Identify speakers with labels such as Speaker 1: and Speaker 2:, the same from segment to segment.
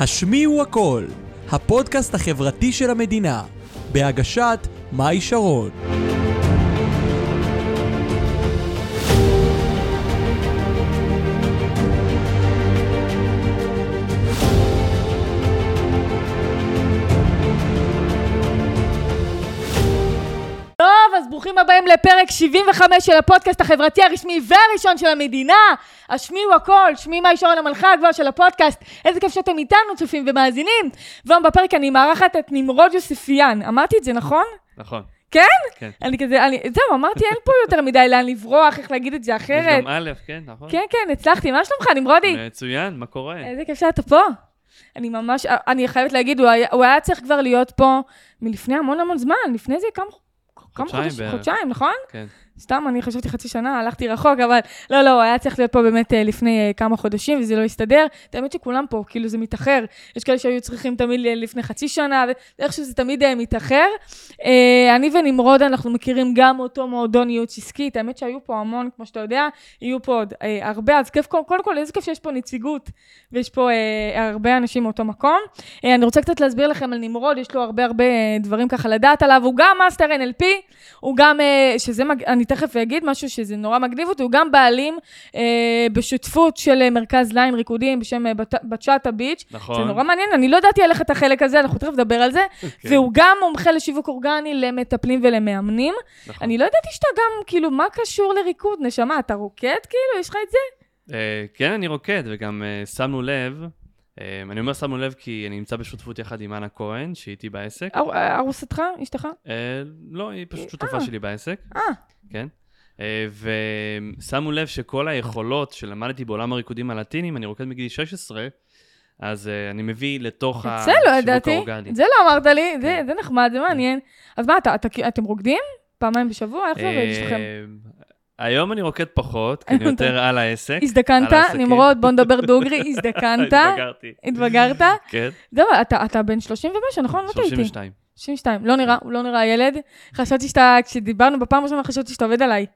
Speaker 1: השמיעו הכל, הפודקאסט החברתי של המדינה, בהגשת מאי שרון.
Speaker 2: טוב, אז ברוכים הבאים לפרק 75 של הפודקאסט החברתי הרשמי והראשון של המדינה. השמיעו הכל, שמי מאי שרון המלכה הגבוהה של הפודקאסט. איזה כיף שאתם איתנו, צופים ומאזינים. והיום בפרק אני מארחת את נמרוד יוסיפיאן. אמרתי את זה נכון?
Speaker 3: נכון.
Speaker 2: כן?
Speaker 3: כן.
Speaker 2: אני כזה, אני, זהו, אמרתי, אין פה יותר מדי לאן לברוח, איך להגיד את זה
Speaker 3: יש
Speaker 2: אחרת.
Speaker 3: גם א', כן, נכון?
Speaker 2: כן, אה, כן, הצלחתי, מה שלומך, נמרודי?
Speaker 3: מצוין, מה קורה?
Speaker 2: איזה כיף שאתה פה. אני ממש, אני חייבת להגיד, הוא היה, הוא היה צריך כבר להיות פה מלפני המון המון זמן, לפני זה כמה... כמה
Speaker 3: חודשיים
Speaker 2: חודשים,
Speaker 3: בערך.
Speaker 2: חודשיים, נכון?
Speaker 3: כן.
Speaker 2: סתם, אני חשבתי חצי שנה, הלכתי רחוק, אבל לא, לא, הוא היה צריך להיות פה באמת אה, לפני אה, כמה חודשים, וזה לא הסתדר. את האמת שכולם פה, כאילו זה מתאחר. יש כאלה שהיו צריכים תמיד אה, לפני חצי שנה, ואיכשהו זה תמיד אה, מתאחר. אה, אני ונמרוד, אנחנו מכירים גם אותו מועדון ייעוץ עסקי. את האמת שהיו פה המון, כמו שאתה יודע, יהיו פה עוד אה, הרבה, אז כיף, קודם כל, איזה כיף שיש פה נציגות, ויש פה אה, הרבה אנשים מאותו מקום. אה, אני רוצה קצת להסביר לכם על נמרוד, יש לו הרבה הרבה אה, דברים ככה לדעת עליו. הוא גם מאסטר NLP, הוא גם, אה, שזה, מג- אני תכף אגיד משהו שזה נורא מגניב אותי, הוא גם בעלים אה, בשותפות של אה, מרכז ליין ריקודים בשם אה, בת- בצ'אטה ביץ'.
Speaker 3: נכון.
Speaker 2: זה נורא מעניין, אני לא ידעתי עליך את החלק הזה, אנחנו תכף נדבר על זה.
Speaker 3: אוקיי,
Speaker 2: והוא גם מומחה לשיווק אורגני למטפלים ולמאמנים.
Speaker 3: נכון.
Speaker 2: אני לא ידעתי שאתה גם, כאילו, מה קשור לריקוד, נשמה? אתה רוקד, כאילו? יש לך את זה?
Speaker 3: אה, כן, אני רוקד, וגם אה, שמנו לב, אה, אני אומר שמנו לב כי אני נמצא בשותפות יחד עם אנה כהן, שהיא איתי בעסק.
Speaker 2: אר- ארוסתך? אשתך?
Speaker 3: אה, לא, היא פשוט
Speaker 2: אה.
Speaker 3: שותפה שלי בעסק,
Speaker 2: אה,
Speaker 3: כן? אה, ושמו לב שכל היכולות שלמדתי בעולם הריקודים הלטינים, אני רוקד מגיל 16, אז אה, אני מביא לתוך
Speaker 2: את זה לא ידעתי.
Speaker 3: האורגני.
Speaker 2: את זה לא אמרת לי, זה-
Speaker 3: כן.
Speaker 2: זה נחמד, זה מעניין. אז מה, אתה- אתה- אתם רוקדים? פעמיים בשבוע? איך זה עובד אצלכם?
Speaker 3: אה, היום אני רוקד פחות, כי אני
Speaker 2: היום אתה-
Speaker 3: יותר על העסק.
Speaker 2: הזדקנת,
Speaker 3: על העסקים.
Speaker 2: נמרוד, בוא נדבר דוגרי, הזדקנת,
Speaker 3: התבגרתי.
Speaker 2: התבגרת.
Speaker 3: כן,
Speaker 2: זהו, אתה- אתה בן 30 ומשהו, נכון? לא טעיתי.
Speaker 3: 32.
Speaker 2: 32. לא נראה, הוא לא נראה ילד. חשבתי שאתה, כשדיברנו בפעם הראשונה, חשבתי שאתה עובד עליי.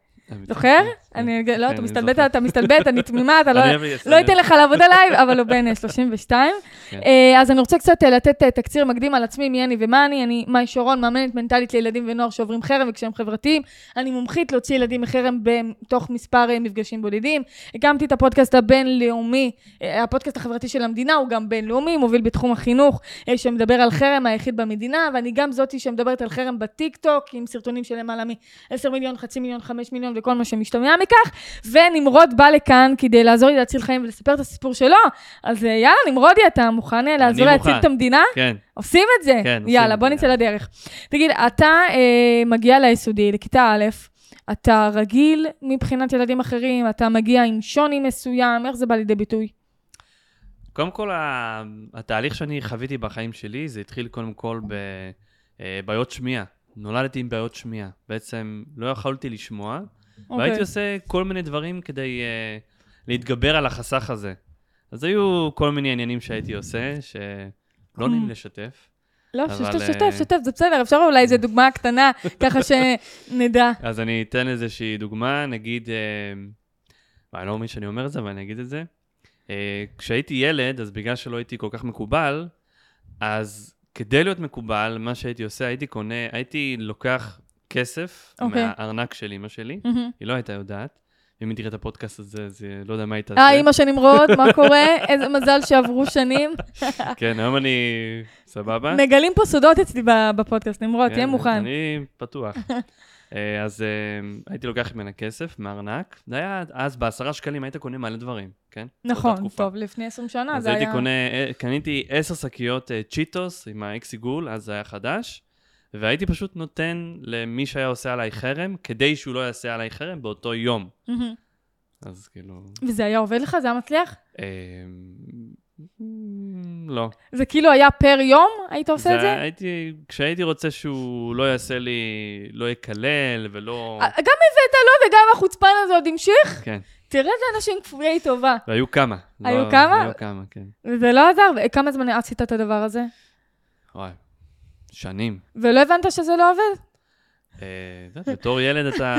Speaker 2: זוכר? אני, לא,
Speaker 3: כן,
Speaker 2: אתה
Speaker 3: אני
Speaker 2: מסתלבט,
Speaker 3: זוכר.
Speaker 2: אתה מסתלבט, אני תמימה, אתה לא...
Speaker 3: אני אוהב לי-
Speaker 2: לא אתן לך לעבוד עליי, אבל הוא בן אה, 32.
Speaker 3: כן.
Speaker 2: אה, אז אני רוצה קצת אה, לתת אה, תקציר מקדים על עצמי, מי אני ומה אני. אני מאי שרון, מאמנת מנטלית לילדים ונוער שעוברים חרם וקשיים חברתיים. אני מומחית להוציא ילדים מחרם בתוך מספר אה, מפגשים בודדים. הקמתי את הפודקאסט הבינלאומי, אה, הפודקאסט החברתי של המדינה, הוא גם בינלאומי, מוביל בתחום החינוך, אה, שמדבר על חרם היחיד במדינה, ואני גם זאתי שמדברת על חרם בטיקטוק, עם סרטונים של למעלה מ-10 מיליון, חצי מיליון, 5 מיליון וכל מה שמשתמע מכך. ונמרוד בא לכאן כדי לעזור לי להציל חיים ולספר את הסיפור שלו. אז אה, יאללה, נמרודי, אתה מוכן אה, לעזור
Speaker 3: מוכן.
Speaker 2: להציל את המדינה?
Speaker 3: כן,
Speaker 2: עושים את זה.
Speaker 3: כן, עושים
Speaker 2: יאללה,
Speaker 3: את
Speaker 2: בוא
Speaker 3: זה,
Speaker 2: נצא לדרך. תגיד, אתה אה, מגיע ליסודי, לכיתה א', אתה רגיל מבחינת ילדים אחרים, אתה מגיע עם שוני מסוים, איך זה בא לידי ביטוי?
Speaker 3: קודם כל, ה- התהליך שאני חוויתי בחיים שלי, זה התחיל קודם כל בבעיות שמיעה. נולדתי עם בעיות שמיעה. בעצם לא יכולתי לשמוע,
Speaker 2: אוקיי.
Speaker 3: והייתי עושה כל מיני דברים כדי אה, להתגבר על החסך הזה. אז היו כל מיני עניינים שהייתי עושה, שלא נעים
Speaker 2: Mm.
Speaker 3: לשתף.
Speaker 2: לא,
Speaker 3: אבל,
Speaker 2: שתף,
Speaker 3: אה,
Speaker 2: שתף, שתף, זה בסדר, אפשר אולי איזו דוגמה קטנה, ככה שנדע.
Speaker 3: אז אני אתן איזושהי דוגמה, נגיד, אה, ואני לא מאמין שאני אומר את זה, אבל אני אגיד את זה. אה, כשהייתי ילד, אז בגלל שלא הייתי כל כך מקובל, אז כדי להיות מקובל, מה שהייתי עושה, הייתי קונה, הייתי לוקח כסף
Speaker 2: אוקיי.
Speaker 3: מהארנק של אמא שלי,
Speaker 2: מהמם. היא
Speaker 3: היא לא הייתה יודעת. אם היא תראה את הפודקאסט הזה, אז היא לא יודע מה היא תעשה.
Speaker 2: אה, אימא של נמרוד, מה קורה? איזה מזל שעברו שנים.
Speaker 3: כן, היום אני... סבבה?
Speaker 2: מגלים פה סודות אצלי ב- בפודקאסט, נמרוד,
Speaker 3: כן,
Speaker 2: תהיה מוכן.
Speaker 3: אני פתוח. אה, אז אה, הייתי לוקח ממנה כסף, מארנק. זה היה, אז בעשרה שקלים היית קונה מלא דברים, כן? באותה
Speaker 2: נכון,
Speaker 3: תקופה.
Speaker 2: טוב, לפני 20 שנה
Speaker 3: אז
Speaker 2: זה
Speaker 3: הייתי
Speaker 2: היה...
Speaker 3: קונה, אה, קניתי עשר שקיות אה, צ'יטוס עם האקס עיגול, אז זה היה חדש, והייתי פשוט נותן למי שהיה עושה עליי חרם, כדי שהוא לא יעשה עליי חרם באותו יום.
Speaker 2: מהמם.
Speaker 3: אז כאילו...
Speaker 2: וזה היה עובד לך? זה היה מצליח?
Speaker 3: אה, לא.
Speaker 2: זה כאילו היה פר יום? היית עושה את
Speaker 3: היה-
Speaker 2: זה?
Speaker 3: הייתי, כשהייתי רוצה שהוא לא יעשה לי, לא יקלל ולא...
Speaker 2: אה, גם הבאת לו וגם החוצפן הזה עוד המשיך?
Speaker 3: כן.
Speaker 2: תראה איזה אנשים כפויי טובה.
Speaker 3: והיו כמה.
Speaker 2: היו
Speaker 3: לא-
Speaker 2: כמה?
Speaker 3: היו כמה, כן.
Speaker 2: וזה לא עזר? וכמה זמן עשית את הדבר הזה?
Speaker 3: וואי, שנים.
Speaker 2: ולא הבנת שזה לא עובד?
Speaker 3: אה, את יודעת, בתור ילד אתה...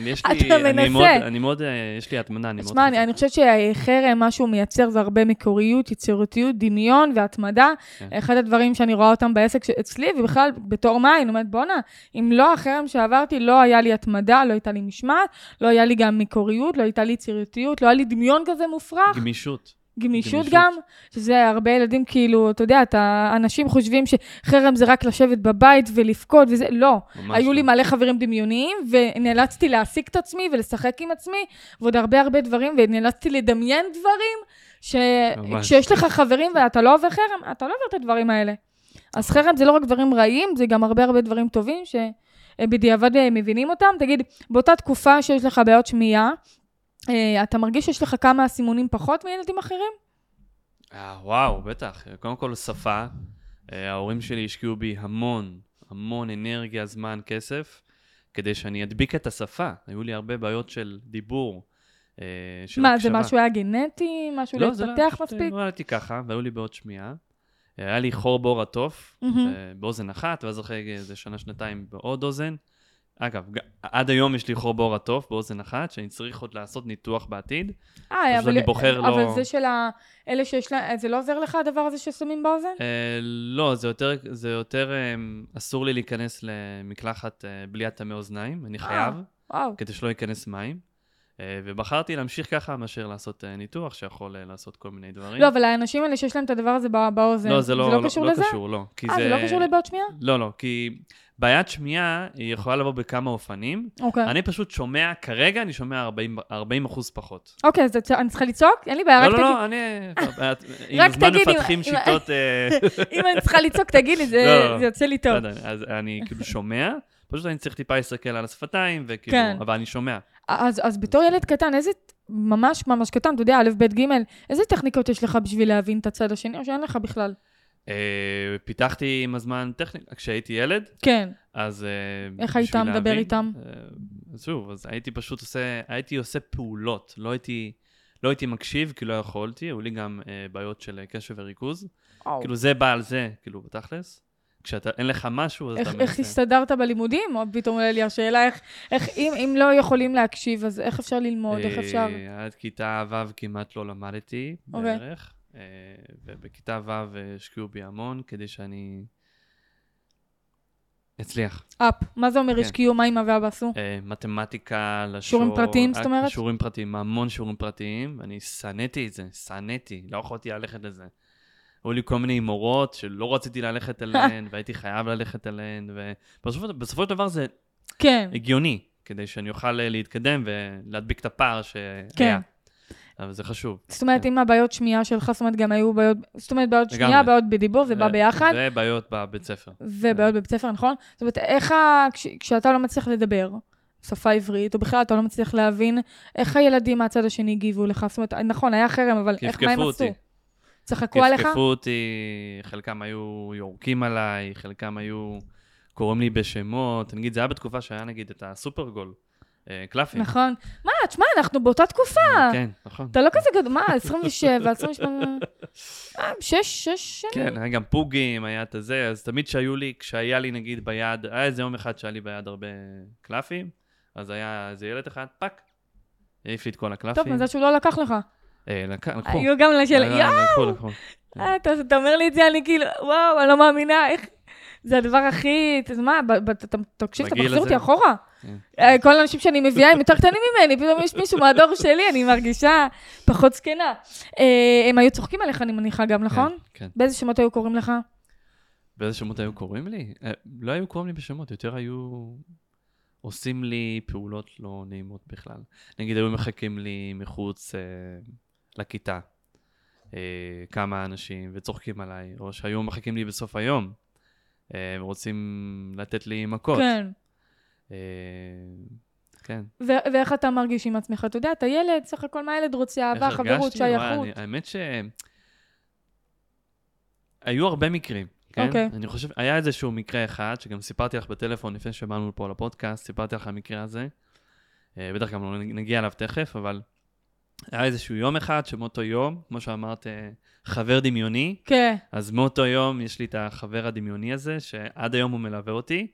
Speaker 3: אני- יש לי...
Speaker 2: אתה
Speaker 3: אני
Speaker 2: מנסה.
Speaker 3: מאוד- אני מאוד... אה, יש לי הטמנה, אני מאוד...
Speaker 2: תשמע, אני,
Speaker 3: חזק.
Speaker 2: אני חושבת שחרם, מה שהוא מייצר זה הרבה מקוריות, יצירותיות, דמיון והתמדה.
Speaker 3: כן.
Speaker 2: כן. אחד הדברים שאני רואה אותם בעסק ש- אצלי, ובכלל, בתור מה, אני אומרת, בואנה, אם לא החרם שעברתי, לא היה לי התמדה, לא הייתה לי משמעת, לא היה לי גם מקוריות, לא הייתה לי יצירותיות, לא היה לי דמיון כזה מופרך.
Speaker 3: גמישות.
Speaker 2: גמישות,
Speaker 3: גמישות.
Speaker 2: גם, שזה הרבה ילדים כאילו, אתה יודע, אתה, אנשים חושבים שחרם זה רק לשבת בבית ולבכות וזה, לא.
Speaker 3: ממש
Speaker 2: היו
Speaker 3: לא.
Speaker 2: לי מלא חברים דמיוניים, ונאלצתי להעסיק את עצמי ולשחק עם עצמי, ועוד הרבה הרבה דברים, ונאלצתי לדמיין דברים,
Speaker 3: ממש.
Speaker 2: שכשיש לך חברים ואתה לא עובר חרם, אתה לא עובר את הדברים האלה. אז חרם זה לא רק דברים רעים, זה גם הרבה הרבה דברים טובים, שבדיעבד מבינים אותם. תגיד, באותה תקופה שיש לך בעיות שמיעה, אה, אתה מרגיש שיש לך כמה סימונים פחות מילדים אחרים?
Speaker 3: אה, וואו, בטח. קודם כל, שפה. אה, ההורים שלי השקיעו בי המון, המון אנרגיה, זמן, כסף, כדי שאני אדביק את השפה. היו לי הרבה בעיות של דיבור, אה, של
Speaker 2: מה, זה
Speaker 3: הקשבה.
Speaker 2: משהו היה גנטי? משהו לא
Speaker 3: זה
Speaker 2: התפתח
Speaker 3: פשוט, אה,
Speaker 2: מספיק?
Speaker 3: נולדתי ככה, והיו לי בעיות שמיעה. אה, היה לי חור בעור התוף,
Speaker 2: מהמם.
Speaker 3: אה, באוזן אחת, ואז אחרי איזה שנה-שנתיים בעוד אוזן. אגב, ג- עד היום יש לי חור בעור התוף באוזן אחת, שאני צריך עוד לעשות ניתוח בעתיד.
Speaker 2: אה,
Speaker 3: פשוט
Speaker 2: אבל,
Speaker 3: אני בוחר
Speaker 2: אבל
Speaker 3: לא-
Speaker 2: זה של ה... אלה שיש להם... זה לא עוזר לך הדבר הזה ששמים באוזן?
Speaker 3: אה, לא, זה יותר, זה יותר אה, אסור לי להיכנס למקלחת אה, בלי הטמי אוזניים,
Speaker 2: אה.
Speaker 3: אני חייב,
Speaker 2: וואו.
Speaker 3: כדי שלא ייכנס מים. אה, ובחרתי להמשיך ככה מאשר לעשות אה, ניתוח, שיכול אה, לעשות כל מיני דברים.
Speaker 2: לא, אבל האנשים האלה שיש להם את הדבר הזה בא- באוזן,
Speaker 3: לא, זה לא,
Speaker 2: זה לא קשור לזה?
Speaker 3: לא קשור, לא. כי
Speaker 2: אה, זה לא קשור לבעיות שמיעה?
Speaker 3: לא, לא, כי בעיית שמיעה היא יכולה לבוא בכמה אופנים.
Speaker 2: אוקיי.
Speaker 3: אני פשוט שומע, כרגע אני שומע 40, 40 אחוז פחות.
Speaker 2: אוקיי, אז אתה- אני צריכה לצעוק? אין לי בעיה, אה, רק
Speaker 3: לא, לא,
Speaker 2: תגיד-
Speaker 3: לא, אני... את- עם
Speaker 2: רק
Speaker 3: הזמן
Speaker 2: תגיד אם-
Speaker 3: מפתחים
Speaker 2: אם-
Speaker 3: שיטות... אה,
Speaker 2: אם אני צריכה לצעוק, תגיד לי, זה-
Speaker 3: לא, לא, לא.
Speaker 2: זה יוצא לי
Speaker 3: לא
Speaker 2: טוב.
Speaker 3: יודע, אז אני כאילו שומע, פשוט אני צריך טיפה להסתכל על השפתיים, וכאילו,
Speaker 2: כן.
Speaker 3: אבל אני שומע.
Speaker 2: אז אז בתור ילד קטן, איזה... ממש ממש קטן, אתה יודע, א', ב', ג', איזה טכניקות יש לך בשביל להבין את הצד השני, או שאין לך בכלל?
Speaker 3: אה, פיתחתי עם הזמן טכניקה, כשהייתי ילד,
Speaker 2: כן.
Speaker 3: אז... אה,
Speaker 2: איך היית
Speaker 3: בשביל
Speaker 2: מדבר
Speaker 3: להבין,
Speaker 2: איתם?
Speaker 3: אה, אז שוב, אז הייתי פשוט עושה, הייתי עושה פעולות, לא הייתי, לא הייתי מקשיב כי לא יכולתי, היו לי גם אה, בעיות של אה, קשב וריכוז.
Speaker 2: וואו.
Speaker 3: כאילו זה בא על זה, כאילו, בתכלס. כשאתה, אין לך משהו, אז
Speaker 2: איך,
Speaker 3: אתה
Speaker 2: איך
Speaker 3: מנסה.
Speaker 2: הסתדרת בלימודים? או פתאום עולה לי השאלה, איך, איך אם, אם לא יכולים להקשיב, אז איך אפשר ללמוד? איך אפשר?
Speaker 3: אה, עד כיתה ו' כמעט לא למדתי
Speaker 2: אוקיי.
Speaker 3: בערך, אה, ובכיתה ו' אה, השקיעו בי המון כדי שאני אצליח.
Speaker 2: אפ, מה זה אומר
Speaker 3: כן.
Speaker 2: השקיעו, מה אמא ואבא עשו?
Speaker 3: אה, מתמטיקה, לשון...
Speaker 2: שיעורים פרטיים, זאת
Speaker 3: אה,
Speaker 2: אומרת?
Speaker 3: שיעורים פרטיים, המון שיעורים פרטיים. אני שנאתי את זה, שנאתי, לא יכולתי ללכת לזה. היו לי כל מיני מורות שלא רציתי ללכת אליהן, והייתי חייב ללכת אליהן, ובסופו בסופו של דבר זה אה,
Speaker 2: כן.
Speaker 3: הגיוני, כדי שאני אוכל אה, להתקדם ולהדביק את הפער שהיה.
Speaker 2: כן.
Speaker 3: אבל זה חשוב.
Speaker 2: זאת אומרת, אם הבעיות שמיעה שלך, זאת אומרת, גם היו בעיות, זאת אומרת, בעיות שמיעה,
Speaker 3: אה. לגמרי.
Speaker 2: בעיות בדיבור, זה בא
Speaker 3: אה,
Speaker 2: ביחד,
Speaker 3: זה בעיות בבית ספר.
Speaker 2: ובעיות בבית ספר, נכון? זאת אומרת, איך ה... כש- כשאתה לא מצליח לדבר שפה עברית, או בכלל אתה לא מצליח להבין, איך הילדים מהצד השני הגיבו לך? זאת אומרת, נכון, היה חרם, אבל איך, מה הם
Speaker 3: קפקפו
Speaker 2: עשו?
Speaker 3: אותי.
Speaker 2: צחקו עליך?
Speaker 3: קפקפו אותי, חלקם היו יורקים עליי, חלקם היו קוראים לי בשמות. נגיד, זה היה בתקופה שהיה נגיד את הסופרגול, אה, קלפים.
Speaker 2: נכון. מה, תשמע, אנחנו באותה תקופה.
Speaker 3: כן, נכון.
Speaker 2: אתה לא כזה גדול, מה, 27, 28, אה, שש, שש שנים.
Speaker 3: כן, היה גם פוגים, היה את הזה, אז תמיד שהיו לי, כשהיה לי נגיד ביד, היה איזה יום אחד שהיה לי ביד הרבה קלפים, אז היה איזה ילד אחד, פאק, העיף לי את כל הקלפים.
Speaker 2: טוב, מזל שהוא לא לקח לך.
Speaker 3: אה, לק- לקחו.
Speaker 2: היו גם לשאלה,
Speaker 3: אה,
Speaker 2: יואו,
Speaker 3: לקחו, לקחו. לא,
Speaker 2: אה, אתה אתה אומר לי את זה, אני כאילו, וואו, אני לא מאמינה, איך... זה הדבר הכי... אז מה, ב- ב- אתה- אתה- תקשיב, אתה
Speaker 3: בגיל
Speaker 2: מחזיר אותי
Speaker 3: הזה.
Speaker 2: אחורה.
Speaker 3: כן.
Speaker 2: אה, כל האנשים שאני מביאה הם יותר קטנים ממני, פתאום יש מישהו מהדור שלי, אני מרגישה פחות זקנה. אה, הם היו צוחקים עליך, אני מניחה גם, נכון?
Speaker 3: כן. כן.
Speaker 2: באיזה שמות היו קוראים לך?
Speaker 3: באיזה שמות היו קוראים לי? אה, לא היו קוראים לי בשמות, יותר היו עושים לי פעולות לא נעימות בכלל. נגיד היו מחכים לי מחוץ אה, לכיתה אה, כמה אנשים וצוחקים עליי, או שהיו מחכים לי בסוף היום, אה, רוצים לתת לי מכות.
Speaker 2: כן.
Speaker 3: אה, כן.
Speaker 2: ו- ואיך אתה מרגיש עם עצמך? אתה יודע, אתה ילד, סך הכל מה ילד רוצה? אהבה,
Speaker 3: איך
Speaker 2: חברות,
Speaker 3: הרגשתי? וואי,
Speaker 2: שייכות.
Speaker 3: אני- האמת ש... היו הרבה מקרים, כן?
Speaker 2: אוקיי.
Speaker 3: אני חושב, היה איזשהו מקרה אחד, שגם סיפרתי לך בטלפון לפני שבאנו פה לפודקאסט, סיפרתי לך על המקרה הזה. אה, בטח גם לא נג- נגיע אליו תכף, אבל היה איזשהו יום אחד שמאותו יום, כמו שאמרת, אה, חבר דמיוני,
Speaker 2: כן.
Speaker 3: אז מאותו יום יש לי את החבר הדמיוני הזה, שעד היום הוא מלווה אותי,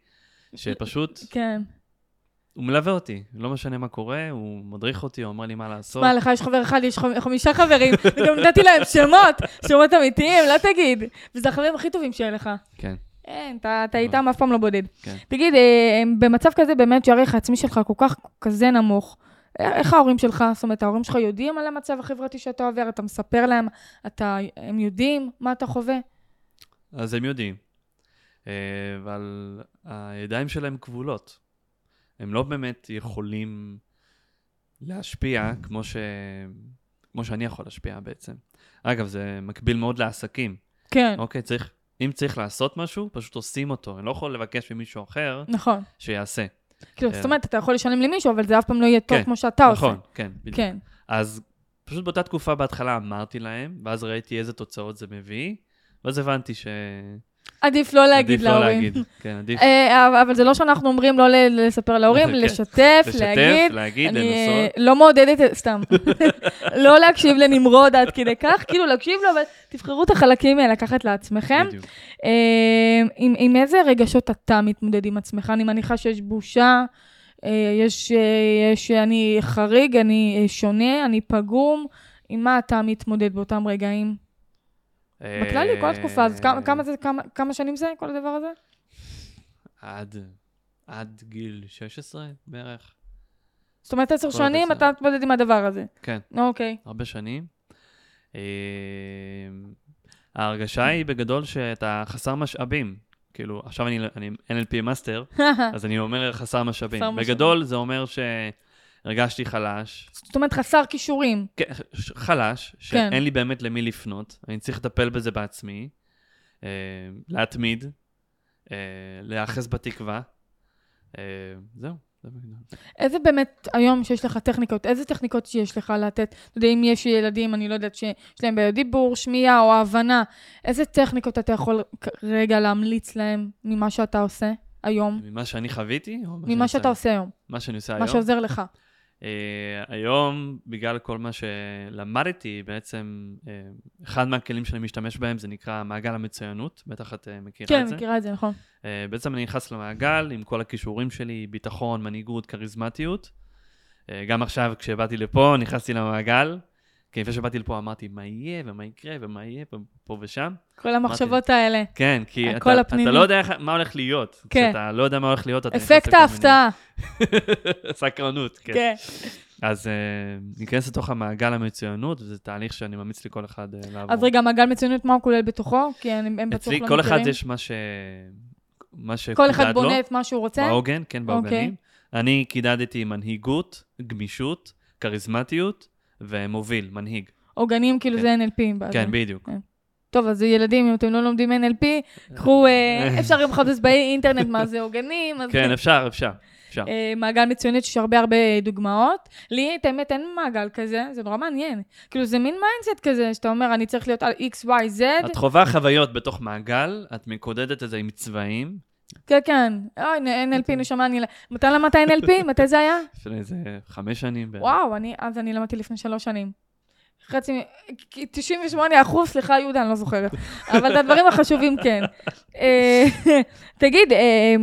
Speaker 3: שפשוט,
Speaker 2: כן.
Speaker 3: הוא מלווה אותי, לא משנה מה קורה, הוא מדריך אותי, הוא אומר לי מה לעשות.
Speaker 2: מה, לך יש חבר אחד, יש חמ- חמישה חברים, וגם נתתי להם שמות, שמות אמיתיים, לא תגיד. וזה החברים הכי טובים שיהיה לך.
Speaker 3: כן. אה.
Speaker 2: אין, אתה אתה איתם אף פעם לא בודד.
Speaker 3: כן.
Speaker 2: תגיד, אה, במצב כזה באמת שהערך העצמי שלך כל כך כזה נמוך, אה, איך ההורים שלך, זאת אומרת, ההורים שלך יודעים על המצב החברתי שאתה עובר, אתה מספר להם, אתה, הם יודעים מה אתה חווה?
Speaker 3: אז הם יודעים. אה, אבל הידיים שלהם כבולות. הם לא באמת יכולים להשפיע כמו, ש... כמו שאני יכול להשפיע בעצם. אגב, זה מקביל מאוד לעסקים.
Speaker 2: כן,
Speaker 3: אוקיי, צריך, אם צריך לעשות משהו, פשוט עושים אותו. אני לא יכול לבקש ממישהו אחר
Speaker 2: נכון.
Speaker 3: שיעשה.
Speaker 2: כאילו,
Speaker 3: כן.
Speaker 2: זאת אומרת, אתה יכול לשלם למישהו, אבל זה אף פעם לא יהיה טוב
Speaker 3: כן,
Speaker 2: כמו שאתה עושה.
Speaker 3: נכון, כן, בדיוק.
Speaker 2: כן,
Speaker 3: אז פשוט באותה תקופה בהתחלה אמרתי להם, ואז ראיתי איזה תוצאות זה מביא, ואז הבנתי ש...
Speaker 2: עדיף לא להגיד
Speaker 3: עדיף לא
Speaker 2: להורים.
Speaker 3: להגיד. כן, עדיף
Speaker 2: אה, אבל- אבל זה לא שאנחנו אומרים לא ל- לספר להורים,
Speaker 3: כן.
Speaker 2: לשתף,
Speaker 3: לשתף,
Speaker 2: להגיד.
Speaker 3: להגיד,
Speaker 2: אני אה,
Speaker 3: לנסות.
Speaker 2: לא מעודדת, סתם, לא להקשיב לנמרוד עד כדי כך, כאילו להקשיב לו, אבל תבחרו את החלקים אה, לקחת לעצמכם.
Speaker 3: בדיוק.
Speaker 2: אה, עם, עם איזה רגשות אתה מתמודד עם עצמך? אני מניחה שיש בושה, אה, יש, אה, יש אה, אני חריג, אני אה, שונה, אני פגום. עם מה אתה מתמודד באותם רגעים?
Speaker 3: אה,
Speaker 2: בכללי, כל התקופה, אז כמה, כמה, זה, כמה, כמה שנים זה, כל הדבר הזה?
Speaker 3: עד, עד גיל 16 בערך.
Speaker 2: זאת אומרת, עשר
Speaker 3: יכול להיות
Speaker 2: שנים
Speaker 3: עשר.
Speaker 2: אתה מתמודד עם הדבר הזה.
Speaker 3: כן,
Speaker 2: אוקיי.
Speaker 3: הרבה שנים. אה, ההרגשה היא בגדול שאתה חסר משאבים. כאילו, עכשיו אני, אני NLP מאסטר, אז אני אומר חסר משאבים.
Speaker 2: חסר משאבים.
Speaker 3: בגדול זה אומר שהרגשתי חלש,
Speaker 2: זאת אומרת, חסר כישורים.
Speaker 3: כן, ש-
Speaker 2: כן.
Speaker 3: חלש, שאין לי באמת למי לפנות, אני צריך לטפל בזה בעצמי, אה, להתמיד, אה, להיאחז בתקווה. אה, זהו, זה בגדול.
Speaker 2: איזה באמת, היום שיש לך טכניקות, איזה טכניקות שיש לך לתת? אתה יודע, אם יש ילדים, אני לא יודעת, שיש להם בעיות דיבור, שמיעה או הבנה, איזה טכניקות אתה יכול רגע להמליץ להם ממה שאתה עושה היום?
Speaker 3: ממה שאני חוויתי? או מה
Speaker 2: ממה
Speaker 3: שאני
Speaker 2: שאתה עושה
Speaker 3: עושה?
Speaker 2: היום,
Speaker 3: מה שאני עושה
Speaker 2: מה
Speaker 3: היום?
Speaker 2: שעוזר לך.
Speaker 3: אה, היום, בגלל כל מה שלמדתי, בעצם אה, אחד מהכלים שאני משתמש בהם זה נקרא מעגל המצוינות, בטח את אה, מכירה
Speaker 2: כן,
Speaker 3: את זה.
Speaker 2: מכירה את זה, נכון.
Speaker 3: אה, בעצם אני נכנס למעגל עם כל הכישורים שלי, ביטחון, מנהיגות, כריזמטיות. אה, גם עכשיו, כשבאתי לפה, נכנסתי למעגל. כי לפני שבאתי לפה אמרתי, מה יהיה ומה יקרה ומה יהיה פה- פה ושם.
Speaker 2: כל המחשבות האלה.
Speaker 3: כן, כי
Speaker 2: הקול
Speaker 3: אתה,
Speaker 2: הפנימי.
Speaker 3: אתה לא יודע איך- מה הולך להיות.
Speaker 2: כן.
Speaker 3: כשאתה לא יודע מה הולך להיות, אתה נכנס
Speaker 2: אפקט
Speaker 3: לכל מיני-
Speaker 2: ההפתעה.
Speaker 3: סקרנות, כן.
Speaker 2: כן.
Speaker 3: אז אה, ניכנס לתוך המעגל המצוינות, וזה תהליך שאני ממליץ לכל אחד אה, לעבור.
Speaker 2: אז רגע, מעגל מצוינות, מה הוא כולל בתוכו? כי אני- הם בטוח לא
Speaker 3: אצלי
Speaker 2: מכירים.
Speaker 3: כל אחד יש לא? מה ש... מה שקודד
Speaker 2: כל
Speaker 3: לו.
Speaker 2: אחד בונה את מה שהוא רוצה?
Speaker 3: בעוגן, כן, בעוגנים.
Speaker 2: אוקיי.
Speaker 3: אני קידדתי מנהיגות, גמישות, כריזמטיות ומוביל, מנהיג.
Speaker 2: עוגנים, כאילו
Speaker 3: כן.
Speaker 2: זה NLP. בעצם.
Speaker 3: כן, בדיוק.
Speaker 2: טוב, אז ילדים, אם אתם לא לומדים NLP, קחו, אה, אפשר גם לחפש באינטרנט מה זה עוגנים. אז-
Speaker 3: כן, אפשר, אפשר, אפשר.
Speaker 2: אוקיי. אה, מעגל מצוינת, יש הרבה הרבה דוגמאות. לי, את האמת, אין מעגל כזה, זה נורא מעניין. כאילו, זה מין מיינדסט כזה, שאתה אומר, אני צריך להיות על X, Y, Z.
Speaker 3: את חווה חוויות בתוך מעגל, את מקודדת את זה עם צבעים.
Speaker 2: כן, כן. אוי, נ- NLP, נשמה, אני... מתי למדת NLP? מתי זה היה?
Speaker 3: לפני איזה חמש שנים. בערך.
Speaker 2: וואו, אני, אז אני למדתי לפני שלוש שנים. חצי, מ- כ- 98 אחוז, סליחה, יהודה, אני לא זוכרת. אבל את הדברים החשובים כן. אה, תגיד, אה,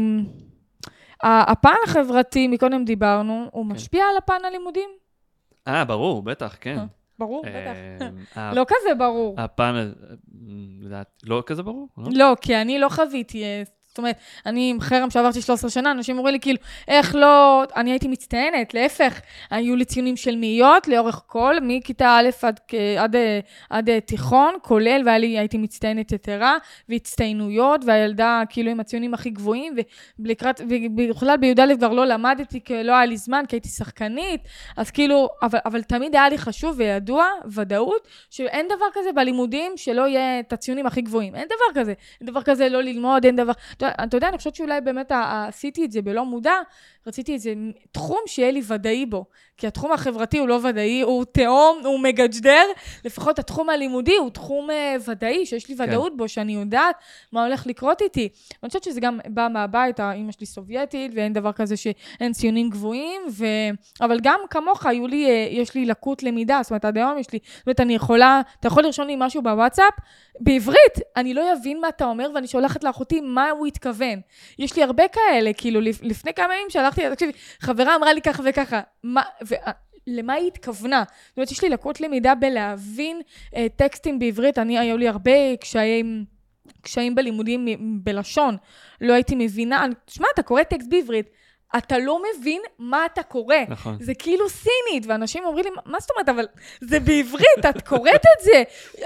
Speaker 2: ה- הפן החברתי, מקודם דיברנו, הוא משפיע על הפן הלימודים?
Speaker 3: אה, ברור, בטח, כן.
Speaker 2: אה, ברור, בטח.
Speaker 3: בטח.
Speaker 2: לא כזה ברור.
Speaker 3: הפן, אה, לדעת- לא כזה ברור? לא?
Speaker 2: לא, כי אני לא חוויתי, אה, זאת אומרת, אני עם חרם שעברתי 13 שנה, אנשים אומרים לי כאילו, איך לא, אני הייתי מצטיינת, להפך, היו לי ציונים של מאיות לאורך כל, מכיתה א' עד, כ- עד, אה, עד אה, תיכון, כולל, והייתי מצטיינת יתרה, והצטיינויות, והילדה כאילו עם הציונים הכי גבוהים, ולקראת, ובכלל בי"א כבר לא למדתי, כי לא היה לי זמן, כי הייתי שחקנית, אז כאילו, אבל, אבל תמיד היה לי חשוב וידוע, ודאות, שאין דבר כזה בלימודים שלא יהיה את הציונים הכי גבוהים, אין דבר כזה. אין דבר כזה לא ללמוד, אין דבר... אתה, אתה יודע, אני חושבת שאולי באמת ה- ה- עשיתי את זה בלא מודע, רציתי איזה תחום שיהיה לי ודאי בו. כי התחום החברתי הוא לא ודאי, הוא תהום, הוא מגג'דר. לפחות התחום הלימודי הוא תחום אה, ודאי, שיש לי ודאות בו, שאני יודעת מה הולך לקרות איתי. אני חושבת שזה גם בא מהבית, אימא שלי סובייטית, ואין דבר כזה שאין ציונים גבוהים, ו... אבל גם כמוך, היו לי, אה, יש לי לקות למידה, זאת אומרת, עד היום יש לי, זאת אומרת, אני יכולה, אתה יכול לרשום לי משהו בוואטסאפ, בעברית, אני לא אבין מה אתה אומר, ואני שולחת לאחותי מה הוא התכוון. יש לי הרבה כאלה, כאילו, לפ- לפני כמה ימים שלחתי, לה, תקשיבי, חברה אמרה לי ככה וככה, מה, ו... אה, למה היא התכוונה? זאת אומרת, יש לי לקות למידה בלהבין אה, טקסטים בעברית. אני, היו לי הרבה קשיים, קשיים בלימודים מ- בלשון. לא הייתי מבינה. אני- תשמע, אתה קורא טקסט בעברית, אתה לא מבין מה אתה קורא.
Speaker 3: נכון.
Speaker 2: זה כאילו סינית, ואנשים אומרים לי, מה זאת אומרת, אבל זה בעברית, את קוראת את זה.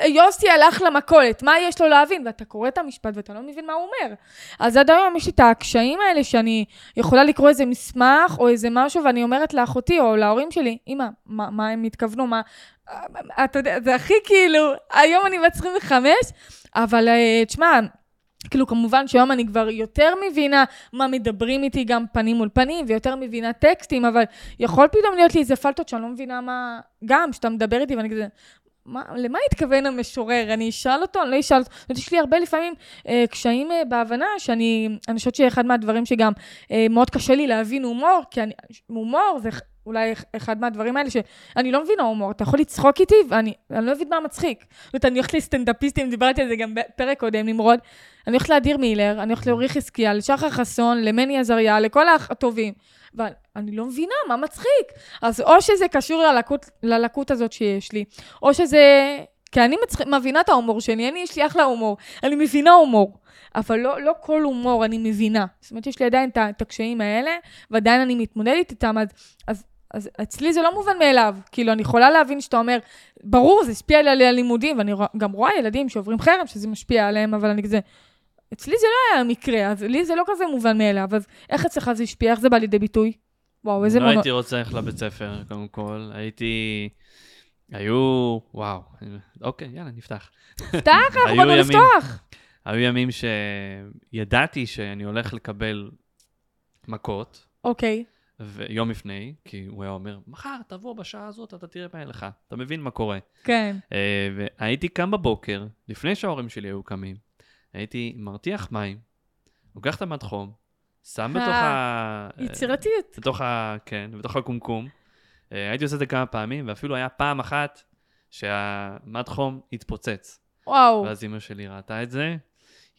Speaker 2: יוסי הלך למכולת, מה יש לו להבין? ואתה קורא את המשפט ואתה לא מבין מה הוא אומר. אז עד היום יש לי את הקשיים האלה שאני יכולה לקרוא איזה מסמך או איזה משהו, ואני אומרת לאחותי או להורים שלי, אמא, מה, מה הם התכוונו, מה... אתה יודע, זה הכי כאילו, היום אני בת 25, אבל אה, תשמע, כאילו, כמובן שהיום אני כבר יותר מבינה מה מדברים איתי גם פנים מול פנים, ויותר מבינה טקסטים, אבל יכול פתאום להיות לי איזה פלטות שאני לא מבינה מה... גם, כשאתה מדבר איתי ואני כזה... מה, למה התכוון המשורר? אני אשאל אותו? אני לא אשאל אותו. זאת אומרת, יש לי הרבה לפעמים אה, קשיים אה, בהבנה, שאני... אני חושבת שאחד מהדברים שגם אה, מאוד קשה לי להבין הומור, כי אני, הומור זה אולי אח- אחד מהדברים האלה שאני לא מבינה הומור. אתה יכול לצחוק איתי ואני אני לא מבין מה מצחיק. זאת אומרת, אני הולכת לסטנדאפיסטים, דיברתי על זה גם בפרק קודם, נמרוד. אני הולכת לאדיר מילר, אני הולכת לאורי חזקיה, לשחר חסון, למני עזריה, לכל האח- הטובים. ואני לא מבינה מה מצחיק. אז או שזה קשור ללקות, ללקות הזאת שיש לי, או שזה... כי אני מצח... מבינה את ההומור שלי, אני, יש לי אחלה הומור. אני מבינה הומור, אבל לא, לא כל הומור אני מבינה. זאת אומרת, יש לי עדיין את ה- את הקשיים האלה, ועדיין אני מתמודדת איתם, אז, אז, אז אצלי זה לא מובן מאליו. כאילו, אני יכולה להבין שאתה אומר, ברור, זה השפיע לי על הלימודים, ואני רוא- גם רואה ילדים שעוברים חרם, שזה משפיע עליהם, אבל אני כזה... אצלי זה לא היה מקרה, אז לי זה לא כזה מובן מאליו, אז איך אצלך זה השפיע? איך זה בא לידי ביטוי? וואו, איזה
Speaker 3: לא
Speaker 2: מונו...
Speaker 3: הייתי רוצה ללכת לבית ספר, קודם כל. הייתי... היו... וואו. אוקיי, יאללה, נפתח.
Speaker 2: פתח, אה, אנחנו
Speaker 3: היו
Speaker 2: באנו
Speaker 3: ימים.
Speaker 2: לא לפתוח.
Speaker 3: היו ימים שידעתי שאני הולך לקבל מכות,
Speaker 2: אוקיי.
Speaker 3: ויום לפני, כי הוא היה אומר, מחר תבוא בשעה הזאת, אתה תראה מה יהיה לך. אתה מבין מה קורה.
Speaker 2: כן.
Speaker 3: אה, והייתי קם בבוקר, לפני שההורים שלי היו קמים, הייתי מרתיח מים, לוקח את המד חום, שם בתוך ה... אה,
Speaker 2: יצירתיות.
Speaker 3: בתוך ה... כן, בתוך הקומקום. אה, הייתי עושה את זה כמה פעמים, ואפילו היה פעם אחת שהמד חום התפוצץ.
Speaker 2: וואו.
Speaker 3: ואז אימא שלי ראתה את זה,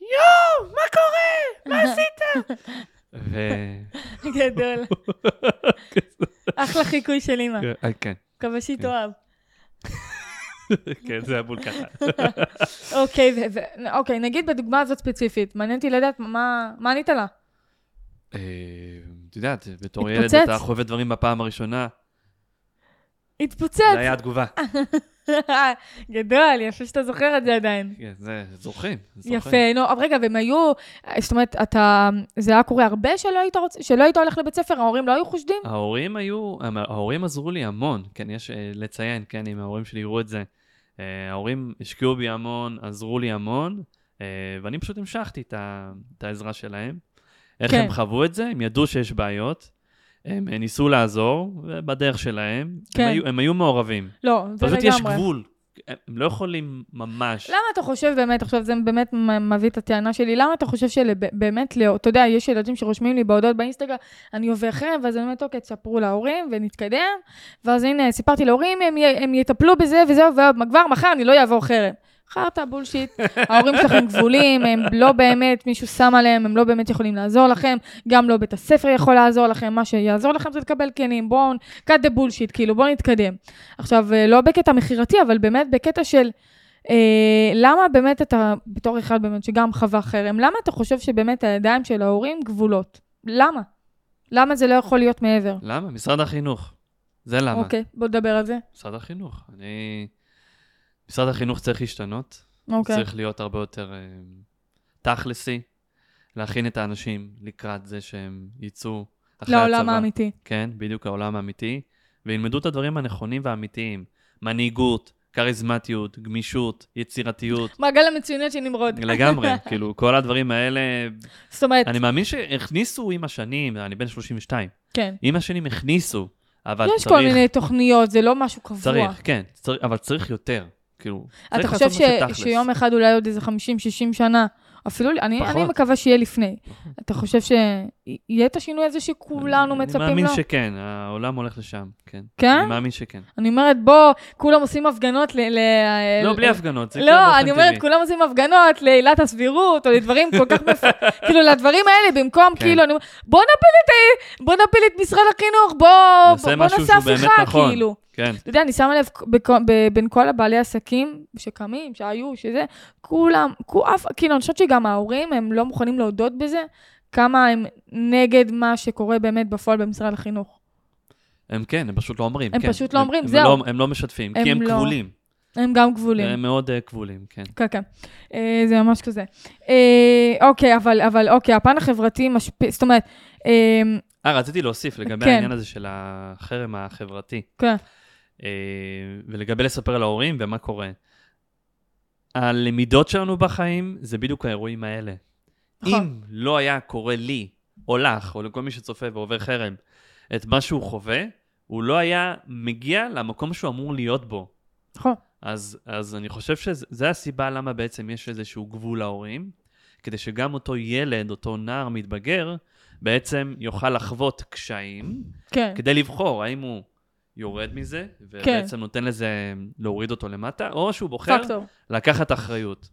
Speaker 3: יואו, מה קורה? מה עשית? ו...
Speaker 2: גדול. אחלה חיקוי של אימא.
Speaker 3: אה, כן,
Speaker 2: מקווה שהיא תאהב.
Speaker 3: כן, זה היה בול ככה.
Speaker 2: אוקיי, ו- ו- אוקיי, נגיד בדוגמה הזאת ספציפית, מעניין אותי לדעת מה מה ענית לה.
Speaker 3: אה, את יודעת, בתור ילד
Speaker 2: התפוצץ.
Speaker 3: אתה חווה דברים בפעם הראשונה,
Speaker 2: התפוצץ.
Speaker 3: זה היה התגובה.
Speaker 2: גדול, יפה שאתה זוכר את זה עדיין.
Speaker 3: כן, זה זוכרים. זוכרים.
Speaker 2: יפה, נו, אבל רגע, והם היו, זאת אומרת, אתה, זה היה קורה הרבה שלא היית רוצ- שלא היית הולך לבית ספר, ההורים לא היו חושדים?
Speaker 3: ההורים היו, ההורים עזרו לי המון, כן, יש אה, לציין, כן, אם ההורים שלי יראו את זה. אה, ההורים השקיעו בי המון, עזרו לי המון, אה, ואני פשוט המשכתי את ה- את העזרה שלהם. איך
Speaker 2: כן.
Speaker 3: הם חוו את זה? הם ידעו שיש בעיות, הם אה, ניסו לעזור, בדרך שלהם,
Speaker 2: כן.
Speaker 3: הם, היו, הם היו מעורבים.
Speaker 2: לא, זה לגמרי.
Speaker 3: פשוט יש גבול, הם הם לא יכולים ממש.
Speaker 2: למה אתה חושב באמת, עכשיו זה באמת מ- מביא את הטענה שלי, למה אתה חושב שבאמת, לא, אתה יודע, יש ילדים שרושמים לי בהודעות באינסטגרם, אני עובר חרם, ואז אני אומרת, אוקיי, תספרו להורים ונתקדם, ואז הנה, סיפרתי להורים, הם, י- הם יטפלו בזה וזהו, וכבר מחר אני לא אעבור חרם. חרטא, בולשיט, ההורים שלכם גבולים, הם לא באמת, מישהו שם עליהם, הם לא באמת יכולים לעזור לכם, גם לא בית הספר יכול לעזור לכם, מה שיעזור לכם זה לקבל כנים, בואו, cut the bullshit, כאילו, בואו נתקדם. עכשיו, אה, לא בקטע מכירתי, אבל באמת בקטע של אה, למה באמת אתה, בתור אחד באמת שגם חווה חרם, למה אתה חושב שבאמת הידיים של ההורים גבולות? למה? למה זה לא יכול להיות מעבר?
Speaker 3: למה? משרד החינוך. זה למה.
Speaker 2: אוקיי, בוא נדבר על זה.
Speaker 3: משרד החינוך. אני... משרד החינוך צריך להשתנות.
Speaker 2: אוקיי.
Speaker 3: צריך להיות הרבה יותר אה, תכלסי, להכין את האנשים לקראת זה שהם יצאו אחרי הצבא.
Speaker 2: לעולם האמיתי.
Speaker 3: כן, בדיוק העולם האמיתי, וילמדו את הדברים הנכונים והאמיתיים. מנהיגות, כריזמטיות, גמישות, יצירתיות.
Speaker 2: מעגל המצוינות של נמרוד.
Speaker 3: לגמרי, כאילו, כל הדברים האלה,
Speaker 2: זאת אומרת,
Speaker 3: אני מאמין שהכניסו עם השנים, אני בן 32,
Speaker 2: כן.
Speaker 3: עם השנים הכניסו, אבל
Speaker 2: יש
Speaker 3: צריך,
Speaker 2: כל מיני תוכניות, זה לא משהו קבוע.
Speaker 3: צריך, כן, צריך, אבל צריך יותר, כאילו,
Speaker 2: אתה
Speaker 3: צריך
Speaker 2: חושב
Speaker 3: לעשות
Speaker 2: ש...
Speaker 3: משהו תכלס.
Speaker 2: שיום אחד, אולי עוד איזה 50-60 שנה, אפילו, אני, אני
Speaker 3: פחות.
Speaker 2: מקווה שיהיה לפני. אתה חושב שיהיה את השינוי הזה שכולנו
Speaker 3: אני-
Speaker 2: מצפים לו?
Speaker 3: אני מאמין שכן, העולם הולך לשם, כן.
Speaker 2: כן?
Speaker 3: אני מאמין שכן.
Speaker 2: אני אומרת, בוא, כולם עושים הפגנות ל... ל-
Speaker 3: לא,
Speaker 2: ל-
Speaker 3: בלי הפגנות, זה כאילו
Speaker 2: אה, לא, אני
Speaker 3: באופן
Speaker 2: אומרת,
Speaker 3: טבעי.
Speaker 2: כולם עושים הפגנות לעילת הסבירות, או לדברים כל כך מפ... כאילו, לדברים האלה, במקום,
Speaker 3: כן.
Speaker 2: כאילו, אני אומרת, בוא נפיל את ה- בוא נפיל את משרד החינוך, בוא
Speaker 3: נעשה
Speaker 2: בוא- בוא
Speaker 3: משהו
Speaker 2: נעשה
Speaker 3: שהוא באמת
Speaker 2: הפיכה,
Speaker 3: נכון.
Speaker 2: כאילו.
Speaker 3: כן,
Speaker 2: אתה יודע, אני שמה לב בכ- ב- בין כל הבעלי עסקים שקמים, שהיו, שזה, כולם, כו- אף- כאילו, אני חושבת שגם ההורים, הם לא מוכנים להודות בזה, כמה הם נגד מה שקורה באמת בפועל במשרד החינוך.
Speaker 3: הם כן, הם פשוט לא אומרים.
Speaker 2: הם
Speaker 3: כן.
Speaker 2: פשוט לא אומרים,
Speaker 3: הם
Speaker 2: זהו.
Speaker 3: לא- הם לא משתפים,
Speaker 2: הם
Speaker 3: כי הם
Speaker 2: לא.
Speaker 3: כבולים.
Speaker 2: הם גם גבולים.
Speaker 3: הם מאוד אה, כבולים, כן.
Speaker 2: כן, כן. אה, זה ממש כזה. אה, אוקיי, אבל, אבל אוקיי, הפן החברתי משפיע, זאת אומרת, אה,
Speaker 3: אה, רציתי להוסיף לגבי
Speaker 2: כן.
Speaker 3: העניין הזה של החרם החברתי.
Speaker 2: כן.
Speaker 3: אה, ולגבי לספר להורים ומה קורה. הלמידות שלנו בחיים זה בדיוק האירועים האלה.
Speaker 2: נכון.
Speaker 3: אם לא היה קורה לי, או לך, או לכל מי שצופה ועובר חרם, את מה שהוא חווה, הוא לא היה מגיע למקום שהוא אמור להיות בו.
Speaker 2: נכון.
Speaker 3: אז, אז אני חושב שזו הסיבה למה בעצם יש איזשהו גבול להורים, כדי שגם אותו ילד, אותו נער מתבגר, בעצם יוכל לחוות קשיים,
Speaker 2: כן,
Speaker 3: כדי לבחור האם הוא יורד מזה, ובעצם נותן לזה, להוריד אותו למטה, או שהוא בוחר
Speaker 2: פקטור.
Speaker 3: לקחת אחריות.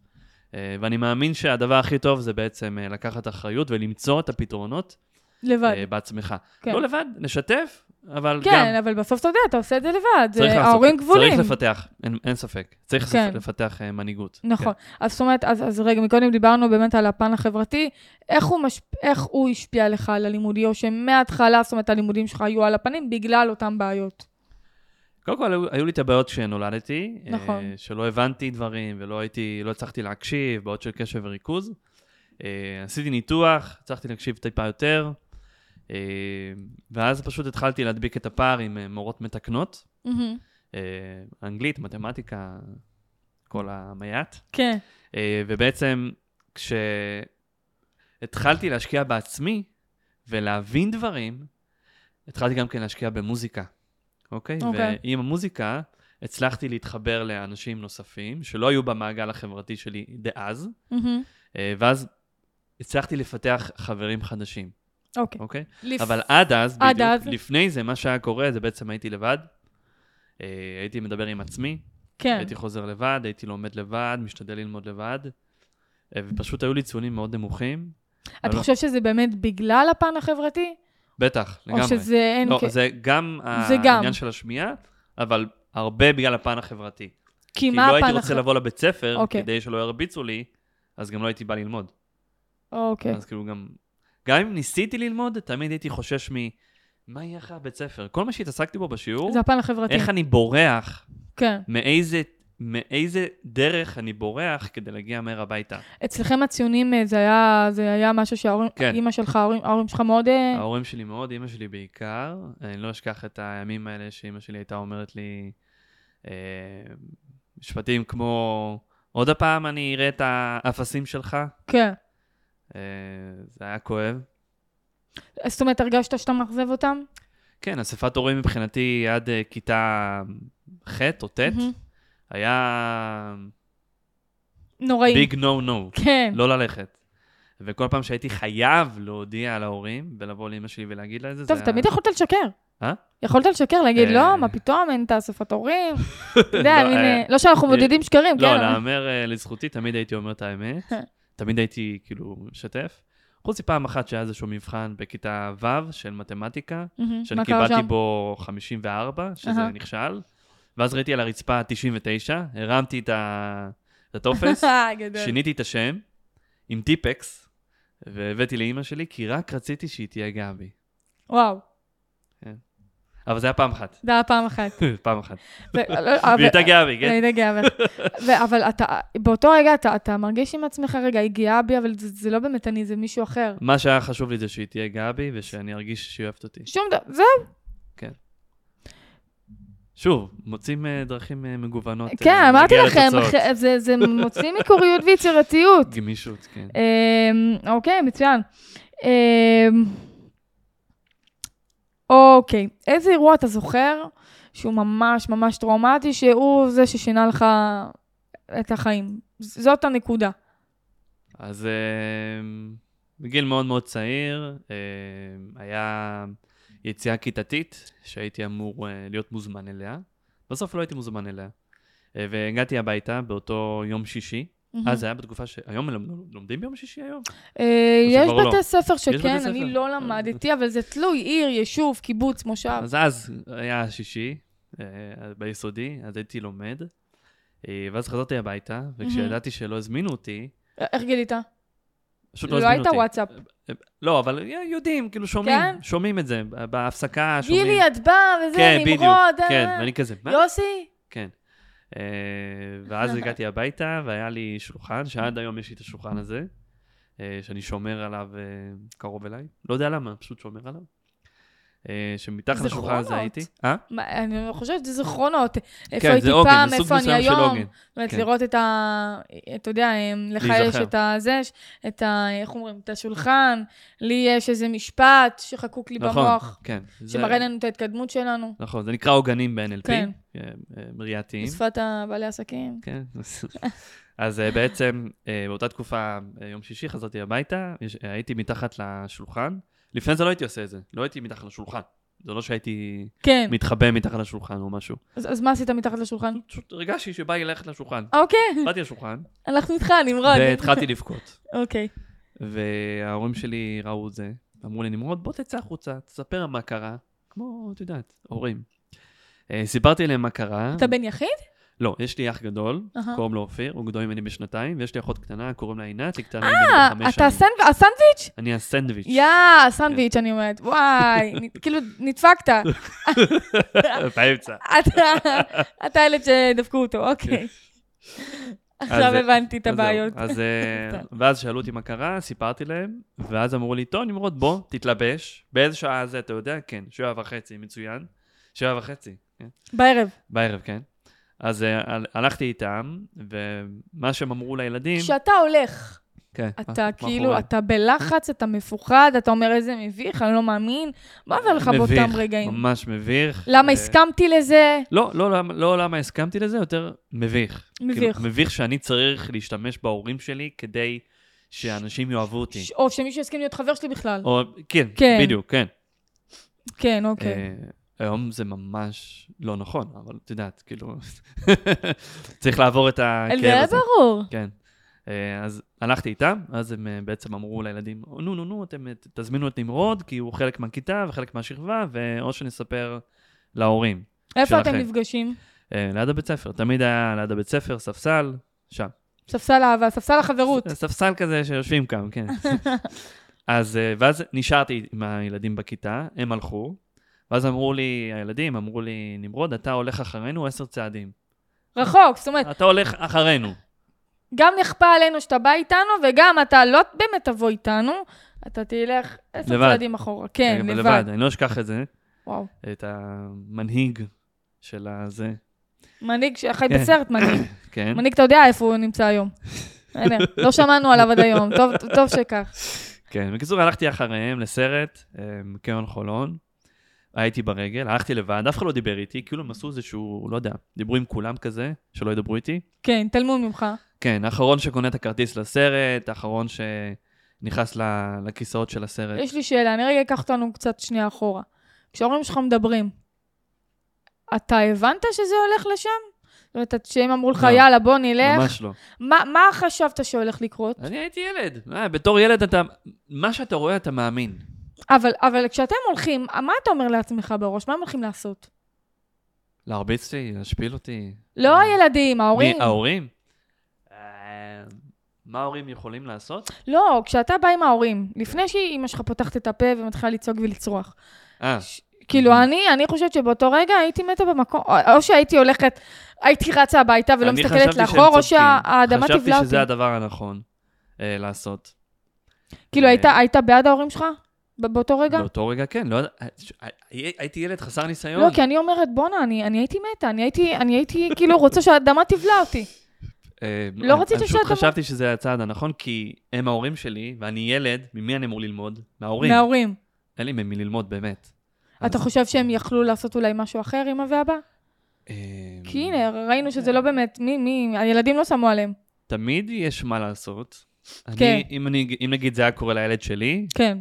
Speaker 3: אה, ואני מאמין שהדבר הכי טוב זה בעצם אה, לקחת אחריות ולמצוא את הפתרונות
Speaker 2: לבד.
Speaker 3: אה, בעצמך.
Speaker 2: כן.
Speaker 3: לא לבד, נשתף, אבל גם...
Speaker 2: כן, אבל בסוף אתה יודע, אתה עושה את זה לבד. זה-
Speaker 3: צריך לעשות-
Speaker 2: ההורים גבולים.
Speaker 3: צריך לפתח, אין, אין ספק. צריך
Speaker 2: כן.
Speaker 3: לפתח אה, מנהיגות.
Speaker 2: נכון. אז זאת אומרת, אז, אז רגע, מקודם דיברנו באמת על הפן החברתי, איך הוא, משפ... איך הוא השפיע לך על הלימודי, או שמההתחלה, זאת אומרת, הלימודים שלך היו על הפנים בגלל אותן בעיות.
Speaker 3: קודם כל, היו, היו לי את הבעיות כשנולדתי.
Speaker 2: נכון.
Speaker 3: אה, שלא הבנתי דברים ולא הייתי, לא הצלחתי להקשיב, בעיות של קשב וריכוז. אה, עשיתי ניתוח, הצלחתי להקשיב טיפה יותר, אה, ואז פשוט התחלתי להדביק את הפער עם אה, מורות מתקנות. אה, אנגלית, מתמטיקה, כל המייט.
Speaker 2: כן.
Speaker 3: אה, ובעצם, כשהתחלתי להשקיע בעצמי ולהבין דברים, התחלתי גם כן להשקיע במוזיקה, אוקיי?
Speaker 2: אוקיי.
Speaker 3: ועם המוזיקה הצלחתי להתחבר לאנשים נוספים שלא היו במעגל החברתי שלי דאז,
Speaker 2: מהמם.
Speaker 3: אה, ואז הצלחתי לפתח חברים חדשים,
Speaker 2: אוקיי.
Speaker 3: אוקיי?
Speaker 2: לפ-
Speaker 3: אבל עד אז,
Speaker 2: עד
Speaker 3: בדיוק,
Speaker 2: אז.
Speaker 3: לפני זה, מה שהיה קורה זה בעצם הייתי לבד, אה, הייתי מדבר עם עצמי,
Speaker 2: כן.
Speaker 3: הייתי חוזר לבד, הייתי לומד לבד, משתדל ללמוד לבד, אה, ופשוט היו לי ציונים מאוד נמוכים.
Speaker 2: אתה
Speaker 3: אבל-
Speaker 2: חושב שזה באמת בגלל הפן החברתי?
Speaker 3: בטח, לגמרי.
Speaker 2: או שזה אין...
Speaker 3: לא,
Speaker 2: כ-
Speaker 3: זה גם
Speaker 2: זה גם.
Speaker 3: העניין של השמיעה, אבל הרבה בגלל הפן החברתי.
Speaker 2: כי
Speaker 3: כי
Speaker 2: מה
Speaker 3: לא
Speaker 2: הפן...
Speaker 3: הייתי רוצה
Speaker 2: הח-
Speaker 3: לבוא לבית ספר,
Speaker 2: אוקיי.
Speaker 3: כדי שלא ירביצו לי, אז גם לא הייתי בא ללמוד.
Speaker 2: אוקיי.
Speaker 3: אז כאילו גם... גם אם ניסיתי ללמוד, תמיד הייתי חושש מ... מה יהיה אחרי הבית ספר? כל מה שהתעסקתי בו בשיעור,
Speaker 2: זה הפן החברתי.
Speaker 3: איך אני בורח
Speaker 2: כן.
Speaker 3: מאיזה, מאיזה דרך אני בורח כדי להגיע מהר הביתה.
Speaker 2: אצלכם הציונים אה, זה היה, זה היה משהו שההורים,
Speaker 3: כן.
Speaker 2: אימא שלך, ההורים, ההורים שלך מאוד... אה,
Speaker 3: ההורים שלי מאוד, אימא שלי בעיקר. אני לא אשכח את הימים האלה שאימא שלי הייתה אומרת לי אה, משפטים כמו, עוד הפעם אני אראה את האפסים שלך.
Speaker 2: כן.
Speaker 3: אה, זה היה כואב.
Speaker 2: זאת אומרת, הרגשת שאתה מאכזב אותם?
Speaker 3: כן, אספת הורים מבחינתי עד אה, כיתה ח' או ט',
Speaker 2: מהמם.
Speaker 3: היה
Speaker 2: נוראים.
Speaker 3: ביג נו נו.
Speaker 2: כן.
Speaker 3: לא ללכת. וכל פעם שהייתי חייב להודיע להורים ולבוא לאמא שלי ולהגיד לה את זה,
Speaker 2: טוב,
Speaker 3: זה
Speaker 2: תמיד
Speaker 3: היה...
Speaker 2: יכולת לשקר.
Speaker 3: אה?
Speaker 2: יכולת לשקר, להגיד,
Speaker 3: אה.
Speaker 2: לא, מה פתאום, אין את האספת הורים. אתה יודע,
Speaker 3: לא,
Speaker 2: מין,
Speaker 3: אה,
Speaker 2: אה, לא שאנחנו
Speaker 3: אה,
Speaker 2: מודדים שקרים, כן.
Speaker 3: לא,
Speaker 2: אבל- אה.
Speaker 3: להאמר אה, לזכותי, תמיד הייתי אומר את האמת. תמיד הייתי כאילו משתף. חוץ מפעם אחת שהיה איזשהו מבחן בכיתה ו' של מתמטיקה,
Speaker 2: מהמם.
Speaker 3: שאני
Speaker 2: מה קרה
Speaker 3: קיבלתי
Speaker 2: שם?
Speaker 3: בו 54, שזה
Speaker 2: אהה.
Speaker 3: נכשל, ואז ראיתי על הרצפה 99, הרמתי את ה- את הטופס,
Speaker 2: אה, גדול.
Speaker 3: שיניתי את השם עם טיפקס, והבאתי לאימא שלי, כי רק רציתי שהיא תהיה גאה בי.
Speaker 2: וואו,
Speaker 3: אבל זה היה פעם אחת,
Speaker 2: זה היה פעם אחת.
Speaker 3: פעם אחת.
Speaker 2: ו- לא, אבל-
Speaker 3: והיא הייתה גאה בי, כן?
Speaker 2: אני גאה בך. ו- אבל אתה, באותו רגע אתה, אתה מרגיש עם עצמך, רגע, היא גאה בי, אבל זה, זה לא באמת אני, זה מישהו אחר.
Speaker 3: מה שהיה חשוב לי זה שהיא תהיה גאה בי, ושאני ארגיש שהיא אוהבת אותי.
Speaker 2: שום דבר, זהו.
Speaker 3: כן. שוב, מוצאים אה, דרכים אה, מגוונות. אה,
Speaker 2: כן, אמרתי
Speaker 3: להגיע
Speaker 2: לכם,
Speaker 3: לתוצאות.
Speaker 2: אח- זה- זה מוציא מקוריות ויצירתיות.
Speaker 3: גמישות, כן.
Speaker 2: אמ, אוקיי, מצוין. אמ, אוקיי, איזה אירוע אתה זוכר שהוא ממש ממש טראומטי, שהוא זה ששינה לך את החיים? ז- זאת
Speaker 3: אה,
Speaker 2: הנקודה.
Speaker 3: אז אה, בגיל מאוד מאוד צעיר, אה, היה יציאה כיתתית שהייתי אמור אה, להיות מוזמן אליה. בסוף לא הייתי מוזמן אליה. אה, והגעתי הביתה באותו יום שישי.
Speaker 2: Mm-hmm.
Speaker 3: אז זה היה בתקופה ש... היום מלמד- לומדים ביום שישי היום?
Speaker 2: אה,
Speaker 3: או
Speaker 2: יש
Speaker 3: שכבר לא?
Speaker 2: בתי ספר
Speaker 3: בתי
Speaker 2: שכן, אני
Speaker 3: ספר. אה.
Speaker 2: לא למדתי, אבל זה תלוי עיר, יישוב, קיבוץ, מושב.
Speaker 3: אז אז היה שישי, אה, ביסודי, אז הייתי לומד. אה, ואז חזרתי הביתה,
Speaker 2: Mm-hmm.
Speaker 3: וכשידעתי שלא הזמינו אותי,
Speaker 2: אה, איך גילית?
Speaker 3: פשוט לא
Speaker 2: לא
Speaker 3: הזמינו
Speaker 2: הייתה
Speaker 3: אותי.
Speaker 2: וואטסאפ.
Speaker 3: לא, אבל יודעים, כאילו שומעים,
Speaker 2: כן?
Speaker 3: שומעים את זה, בהפסקה שומעים.
Speaker 2: גילי, את באה, וזה,
Speaker 3: כן,
Speaker 2: נמרוד.
Speaker 3: בדיוק,
Speaker 2: אה,
Speaker 3: כן,
Speaker 2: אה.
Speaker 3: ואני כזה, מה?
Speaker 2: יוסי?
Speaker 3: כן. אה, ואז הגעתי הביתה, והיה לי שולחן, שעד היום יש לי את השולחן הזה, אה, שאני שומר עליו אה, קרוב אליי. לא יודע למה, פשוט שומר עליו. אה, שמתחת לשולחן הזה
Speaker 2: זיכרונות.
Speaker 3: הייתי. אה?
Speaker 2: מה, אני חושבת שזה זיכרונות. איפה
Speaker 3: כן,
Speaker 2: הייתי
Speaker 3: זה עוגן,
Speaker 2: פעם,
Speaker 3: זה סוג
Speaker 2: איפה אני
Speaker 3: מסוים של
Speaker 2: היום.
Speaker 3: עוגן.
Speaker 2: זאת אומרת,
Speaker 3: כן.
Speaker 2: לראות את ה... אתה יודע, אמ, לך יש
Speaker 3: להיזכר.
Speaker 2: את הזה, ש- את ה... איך אומרים? את השולחן, לי יש איזה משפט שחקוק לי
Speaker 3: נכון,
Speaker 2: במוח,
Speaker 3: כן. זה-
Speaker 2: שמראה לנו את ההתקדמות שלנו,
Speaker 3: נכון, זה נקרא עוגנים ב-NLP,
Speaker 2: כן.
Speaker 3: אה, מרייתיים.
Speaker 2: בשפת הבעלי עסקים.
Speaker 3: כן. אז אה, בעצם, אה, באותה תקופה, אה, יום שישי, חזרתי הביתה, יש- אה, הייתי מתחת לשולחן. לפני זה לא הייתי עושה את זה, לא הייתי מתחת לשולחן. זה לא שהייתי
Speaker 2: כן.
Speaker 3: מתחבא מתחת לשולחן או משהו.
Speaker 2: אז אז מה עשית מתחת לשולחן?
Speaker 3: פשוט הרגשתי שבא לי ללכת לשולחן.
Speaker 2: אוקיי,
Speaker 3: באתי לשולחן,
Speaker 2: הלכנו איתך, נמרוד.
Speaker 3: והתחלתי לבכות.
Speaker 2: אוקיי.
Speaker 3: וההורים שלי ראו את זה, אמרו לי, נמרוד, בוא תצא החוצה, תספר מה קרה. כמו, את יודעת, הורים. אה, סיפרתי להם מה קרה.
Speaker 2: אתה בן יחיד?
Speaker 3: לא, יש לי אח גדול,
Speaker 2: אהה.
Speaker 3: קוראים לו אופיר, הוא גדול ממני בשנתיים, ויש לי אחות קטנה, קוראים לה עינת, היא קטנה
Speaker 2: אה,
Speaker 3: ממני בחמש
Speaker 2: אתה
Speaker 3: שנים.
Speaker 2: הסנד- הסנדוויץ'?
Speaker 3: אני הסנדוויץ'.
Speaker 2: יא, הסנדוויץ', אני אומרת. וואי, נ- כאילו, נדפקת.
Speaker 3: באמצע.
Speaker 2: אתה- אתה הילד שדפקו אותו, אוקיי. עכשיו
Speaker 3: כן. אז-
Speaker 2: הבנתי את
Speaker 3: אז זהו.
Speaker 2: הבעיות.
Speaker 3: אז, אה,
Speaker 2: סתם.
Speaker 3: ואז שאלו אותי מה קרה, סיפרתי להם, ואז אמרו לי, טוב, נמרוד, בוא, תתלבש. באיזה שעה זה, אתה יודע? כן, שבע וחצי, מצוין. שבע וחצי, כן.
Speaker 2: בערב.
Speaker 3: בערב, כן. אז אה, הל- הלכתי איתם, ומה שהם אמרו לילדים...
Speaker 2: כשאתה הולך,
Speaker 3: כן, מה-
Speaker 2: אתה
Speaker 3: מה
Speaker 2: כאילו,
Speaker 3: קורה?
Speaker 2: אתה בלחץ, אתה מפוחד, אתה אומר איזה מביך, אני לא מאמין. מה עובר לך
Speaker 3: מביך,
Speaker 2: באותם רגעים?
Speaker 3: ממש מביך.
Speaker 2: למה
Speaker 3: אה,
Speaker 2: הסכמתי לזה?
Speaker 3: לא, לא, למה- לא למה הסכמתי לזה, יותר מביך.
Speaker 2: מביך.
Speaker 3: כאילו, מביך שאני צריך להשתמש בהורים שלי כדי שאנשים יאהבו אותי.
Speaker 2: ש- או שמישהו יסכים להיות חבר שלי בכלל.
Speaker 3: או, כן,
Speaker 2: כן.
Speaker 3: בדיוק, כן.
Speaker 2: כן, אוקיי.
Speaker 3: אה, היום זה ממש לא נכון, אבל את יודעת, כאילו, צריך לעבור את הכאב
Speaker 2: זה היה
Speaker 3: הזה.
Speaker 2: ברור.
Speaker 3: כן. אה, אז הלכתי איתם, אז הם אה, בעצם אמרו לילדים, נו, נו, נו, אתם אה, ת- תזמינו את נמרוד, כי הוא חלק מהכיתה וחלק מהשכבה, ואו שנספר להורים.
Speaker 2: איפה אתם
Speaker 3: שלכם.
Speaker 2: נפגשים?
Speaker 3: אה, ליד הבית ספר, תמיד היה ליד הבית ספר, ספסל, שם.
Speaker 2: ספסל אהבה, ספסל החברות.
Speaker 3: ס- כן, ספסל כזה שיושבים כאן, כן. אז, אה, ואז נשארתי עם הילדים בכיתה, הם הלכו, ואז אמרו לי, הילדים אמרו לי, נמרוד, אתה הולך אחרינו עשר צעדים.
Speaker 2: רחוק, זאת אומרת,
Speaker 3: אתה הולך אחרינו.
Speaker 2: גם נכפה עלינו שאתה בא איתנו, וגם אתה לא באמת תבוא איתנו, אתה תלך עשר
Speaker 3: לבד.
Speaker 2: צעדים אחורה. כן,
Speaker 3: אה,
Speaker 2: לבד.
Speaker 3: אני לא אשכח את זה,
Speaker 2: וואו.
Speaker 3: את המנהיג של הזה,
Speaker 2: מנהיג שחי
Speaker 3: כן.
Speaker 2: בסרט, מנהיג.
Speaker 3: כן.
Speaker 2: מנהיג, אתה יודע איפה הוא נמצא היום. הנה, לא שמענו עליו עד היום, טוב- טוב שכך.
Speaker 3: כן, בקיצור, הלכתי אחריהם לסרט, אה, בקניון חולון. הייתי ברגל, הלכתי לבד, אף אחד לא דיבר איתי, כאילו הם עשו איזשהו, לא יודע, דיברו עם כולם כזה, שלא ידברו איתי.
Speaker 2: כן, תלמו ממך.
Speaker 3: כן, האחרון שקונה את הכרטיס לסרט, האחרון שנכנס ל- לכיסאות של הסרט.
Speaker 2: יש לי שאלה, אני רגע אקח אותנו קצת שנייה אחורה. כשההורים שלך מדברים, אתה הבנת שזה הולך לשם? זאת אומרת, כשהם אמרו לך,
Speaker 3: לא.
Speaker 2: יאללה, בוא נלך,
Speaker 3: ממש לא.
Speaker 2: מה מה חשבת שהולך לקרות?
Speaker 3: אני הייתי ילד. אה, בתור ילד אתה, מה שאתה רואה אתה מאמין.
Speaker 2: אבל אבל כשאתם הולכים, מה אתה אומר לעצמך בראש? מה הם הולכים לעשות?
Speaker 3: להרביץ לי, להשפיל אותי.
Speaker 2: לא הילדים, ההורים.
Speaker 3: מי, ההורים? אה, מה ההורים יכולים לעשות?
Speaker 2: לא, כשאתה בא עם ההורים, לפני שאימא שלך פותחת את הפה ומתחילה לצעוק ולצרוח,
Speaker 3: אה,
Speaker 2: ש- כאילו, אני, אני חושבת שבאותו רגע הייתי מתה במקום, או- או שהייתי הולכת, הייתי רצה הביתה ולא
Speaker 3: אני
Speaker 2: לא מסתכלת
Speaker 3: חשבתי שהם
Speaker 2: לאחור, או
Speaker 3: צודקים.
Speaker 2: שהאדמה
Speaker 3: חשבתי
Speaker 2: תבלע אותי.
Speaker 3: שזה הדבר הנכון אה, לעשות.
Speaker 2: כאילו,
Speaker 3: אה,
Speaker 2: היית, היית בעד ההורים שלך? ב- באותו רגע?
Speaker 3: באותו רגע כן, לא יודע, ש- הי- הייתי ילד חסר ניסיון.
Speaker 2: לא, כי אני אומרת, בואנה, אני אני הייתי מתה, אני הייתי- אני הייתי כאילו רוצה שהאדמה תבלע אותי.
Speaker 3: אה,
Speaker 2: לא
Speaker 3: אני-
Speaker 2: רציתי
Speaker 3: אני פשוט
Speaker 2: שאתה-
Speaker 3: חשבתי שזה הצעד הנכון, כי הם ההורים שלי, ואני ילד, ממי אני אמור ללמוד? מההורים.
Speaker 2: מההורים.
Speaker 3: אין לי ממי ללמוד, באמת.
Speaker 2: אתה
Speaker 3: אז-
Speaker 2: חושב שהם יכלו לעשות אולי משהו אחר, אמא ואבא?
Speaker 3: אה,
Speaker 2: כי הנה, ראינו שזה לא באמת, מי, מי, הילדים לא שמו עליהם.
Speaker 3: תמיד יש מה לעשות.
Speaker 2: כן.
Speaker 3: אני, אם, אני, אם נגיד זה היה קורה לילד שלי,
Speaker 2: כן.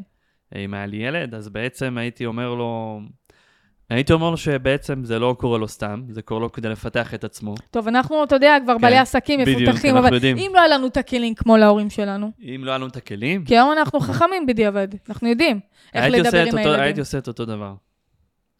Speaker 3: אם היה לי ילד, אז בעצם הייתי אומר לו... הייתי אומר לו שבעצם זה לא קורה לו סתם, זה קורה לו כדי לפתח את עצמו.
Speaker 2: טוב, אנחנו, אתה יודע, כבר
Speaker 3: כן,
Speaker 2: בעלי עסקים
Speaker 3: בדיוק,
Speaker 2: מפותחים,
Speaker 3: אנחנו
Speaker 2: אבל
Speaker 3: יודעים.
Speaker 2: אם לא היה לנו את הכלים כמו להורים שלנו,
Speaker 3: אם לא היה לנו את הכלים,
Speaker 2: כי היום אנחנו חכמים בדיעבד, אנחנו יודעים כן, איך
Speaker 3: הייתי עושה
Speaker 2: לדבר עם
Speaker 3: את אותו- הייתי
Speaker 2: הילדים.
Speaker 3: עושה את אותו דבר.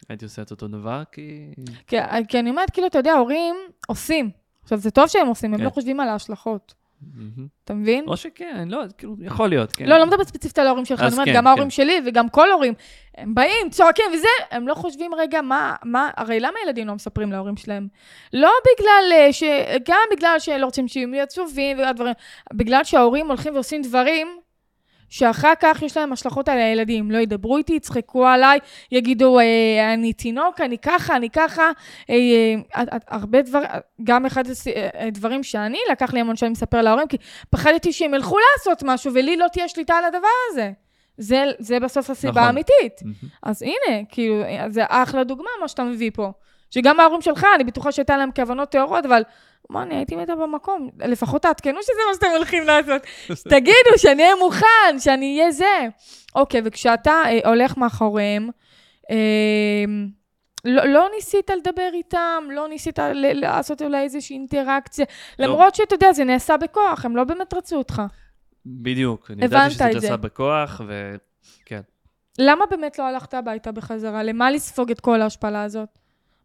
Speaker 3: הייתי עושה את אותו דבר, כי...
Speaker 2: כי, כי אני אומרת, כאילו, אתה יודע, הורים עושים. עכשיו, זה טוב שהם עושים, הם
Speaker 3: כן.
Speaker 2: לא חושבים על ההשלכות,
Speaker 3: מהמם.
Speaker 2: אתה מבין?
Speaker 3: או שכן, לא, כאילו, יכול להיות, כן.
Speaker 2: לא, לא מדברת ספציפית על ההורים שלך, אני
Speaker 3: אז
Speaker 2: אומרת,
Speaker 3: כן,
Speaker 2: גם
Speaker 3: כן.
Speaker 2: ההורים שלי וגם כל ההורים, הם באים, צועקים וזה, הם לא חושבים רגע מה, מה, הרי למה ילדים לא מספרים להורים שלהם? לא בגלל אה, ש... גם בגלל שלא רוצים שהם יהיו עצובים והדברים, בגלל שההורים הולכים ועושים דברים שאחר כך יש להם השלכות על הילדים. לא ידברו איתי, יצחקו עליי, יגידו, אה, אני תינוק, אני ככה, אני ככה. אה, אה, את- את- הרבה דברים, גם אחד הס- אה, אה, דברים שאני, לקח לי המון שנים לספר להורים, כי פחדתי שהם ילכו לעשות משהו ולי לא תהיה שליטה על הדבר הזה. זה, זה בסוף הסיבה
Speaker 3: נכון.
Speaker 2: האמיתית.
Speaker 3: מהמם.
Speaker 2: אז הנה, כאילו, אה, זה אחלה דוגמה מה שאתה מביא פה. שגם ההורים שלך, אני בטוחה שהייתה להם כוונות טהורות, אבל מה, אני הייתי מתה במקום. לפחות תעדכנו שזה מה שאתם הולכים לעשות. תגידו, שאני אהיה מוכן, שאני אהיה זה. אוקיי, וכשאתה אה, הולך מאחוריהם, אה, לא, לא ניסית לדבר איתם, לא ניסית ל- לעשות אולי איזושהי אינטראקציה,
Speaker 3: לא.
Speaker 2: למרות שאתה יודע, זה נעשה בכוח, הם לא באמת רצו אותך.
Speaker 3: בדיוק, אני
Speaker 2: הבנת
Speaker 3: ידעתי שזה
Speaker 2: את זה.
Speaker 3: נעשה בכוח, ו...
Speaker 2: למה באמת לא הלכת הביתה בחזרה? למה לספוג את כל ההשפלה הזאת?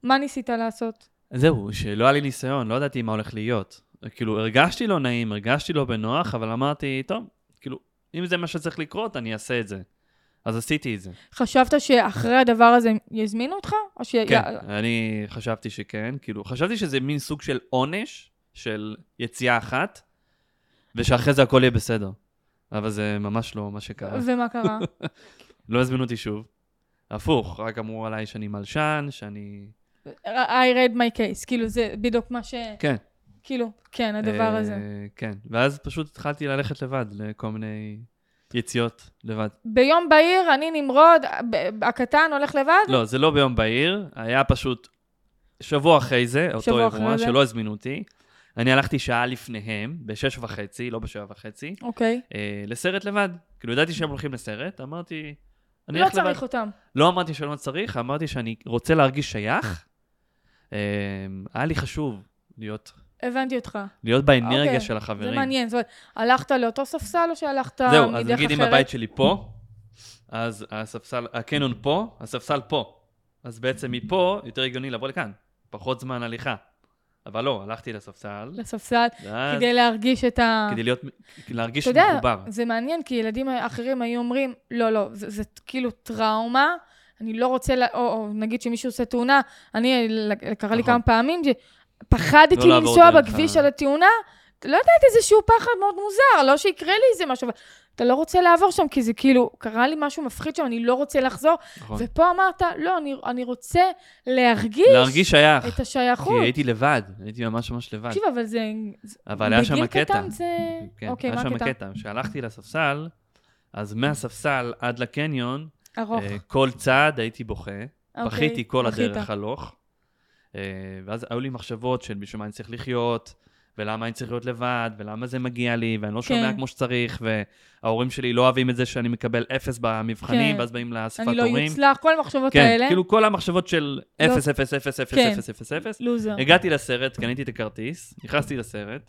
Speaker 2: מה ניסית לעשות?
Speaker 3: זהו, שלא היה לי ניסיון, לא ידעתי מה הולך להיות. כאילו, הרגשתי לא נעים, הרגשתי לא בנוח, אבל אמרתי, טוב, כאילו, אם זה מה שצריך לקרות, אני אעשה את זה. אז עשיתי את זה.
Speaker 2: חשבת שאחרי הדבר הזה הם יזמינו אותך? או ש...
Speaker 3: כן, אני חשבתי שכן, כאילו, חשבתי שזה מין סוג של עונש, של יציאה אחת, ושאחרי זה הכל יהיה בסדר. אבל זה ממש לא מה שקרה.
Speaker 2: ומה קרה?
Speaker 3: לא הזמינו אותי שוב. הפוך, רק אמרו עליי שאני מלשן, שאני...
Speaker 2: I read my case, כאילו זה בדיוק מה ש...
Speaker 3: כן.
Speaker 2: כאילו, כן, הדבר
Speaker 3: אה,
Speaker 2: הזה.
Speaker 3: כן. ואז פשוט התחלתי ללכת לבד לכל מיני יציאות לבד.
Speaker 2: ביום בהיר, אני נמרוד, ב- הקטן הולך לבד?
Speaker 3: לא, זה לא ביום בהיר, היה פשוט שבוע אחרי זה, אותו
Speaker 2: שבוע אחרי
Speaker 3: אירוע
Speaker 2: זה.
Speaker 3: שלא הזמינו אותי. אני הלכתי שעה לפניהם, בשש וחצי, לא בשבע וחצי,
Speaker 2: אוקיי.
Speaker 3: אה, לסרט לבד. כאילו, ידעתי שהם הולכים לסרט, אמרתי, אני
Speaker 2: לא
Speaker 3: אלך לבד.
Speaker 2: צריך אותם.
Speaker 3: לא אמרתי שלא צריך, אמרתי שאני רוצה להרגיש שייך. אה, היה לי חשוב להיות,
Speaker 2: הבנתי אותך.
Speaker 3: להיות באנרגיה
Speaker 2: אוקיי,
Speaker 3: של
Speaker 2: זה
Speaker 3: החברים.
Speaker 2: מעניין. זאת אומרת, הלכת לאותו ספסל או שהלכת מדרך אחרת?
Speaker 3: זהו, אז נגיד אם הבית שלי פה, אז הספסל, הקנון פה, הספסל פה. אז בעצם מפה יותר הגיוני לבוא לכאן, פחות זמן הליכה. אבל לא, הלכתי לספסל,
Speaker 2: לספסל,
Speaker 3: ואז
Speaker 2: כדי להרגיש את ה...
Speaker 3: אה. כדי להיות, להרגיש
Speaker 2: אתה יודע,
Speaker 3: מחובר.
Speaker 2: זה מעניין, כי ילדים אחרים היו אומרים, לא, לא, זה, זה כאילו טראומה, אני לא רוצה, לה, או, או נגיד שמישהו עושה תאונה, אני, ל- קרה לי
Speaker 3: נכון.
Speaker 2: כמה פעמים, שפחדתי
Speaker 3: לא לעבור
Speaker 2: לנסוע
Speaker 3: דרך
Speaker 2: בכביש
Speaker 3: ה-
Speaker 2: על התאונה, לא יודעת, איזשהו פחד מאוד מוזר, לא שיקרה לי איזה משהו, אבל אתה לא רוצה לעבור שם, כי זה כאילו, קרה לי משהו מפחיד שם, אני לא רוצה לחזור,
Speaker 3: נכון.
Speaker 2: ופה אמרת, לא, אני, אני רוצה להרגיש,
Speaker 3: להרגיש שייך.
Speaker 2: את
Speaker 3: כי
Speaker 2: השייכות.
Speaker 3: הייתי לבד, הייתי ממש ממש לבד.
Speaker 2: תקשיב, אבל זה...
Speaker 3: אבל היה שם
Speaker 2: בגיל
Speaker 3: קטע.
Speaker 2: קטן זה...
Speaker 3: כן,
Speaker 2: אוקיי,
Speaker 3: היה
Speaker 2: מה
Speaker 3: שם
Speaker 2: הקטע?
Speaker 3: קטע. כשהלכתי לספסל, אז מהספסל עד לקניון,
Speaker 2: ארוך.
Speaker 3: אה, כל צעד הייתי בוכה.
Speaker 2: אוקיי,
Speaker 3: אה, בכיתי כל
Speaker 2: בכית.
Speaker 3: הדרך הלוך. אה, ואז היו לי מחשבות של בשביל מה אני צריך לחיות, ולמה אני צריך להיות לבד, ולמה זה מגיע לי, ואני לא שומע
Speaker 2: כן.
Speaker 3: כמו שצריך, וההורים שלי לא אוהבים את זה שאני מקבל אפס במבחנים,
Speaker 2: כן.
Speaker 3: ואז באים לאספת
Speaker 2: אני לא
Speaker 3: הורים.
Speaker 2: יוצלח, כל המחשבות
Speaker 3: כן,
Speaker 2: האלה.
Speaker 3: כאילו כל המחשבות של
Speaker 2: לא.
Speaker 3: אפס, אפס, אפס, אפס,
Speaker 2: כן. לא.
Speaker 3: אפס, אפס, אפס.
Speaker 2: לוזר.
Speaker 3: הגעתי לסרט, קניתי את הכרטיס, נכנסתי לסרט.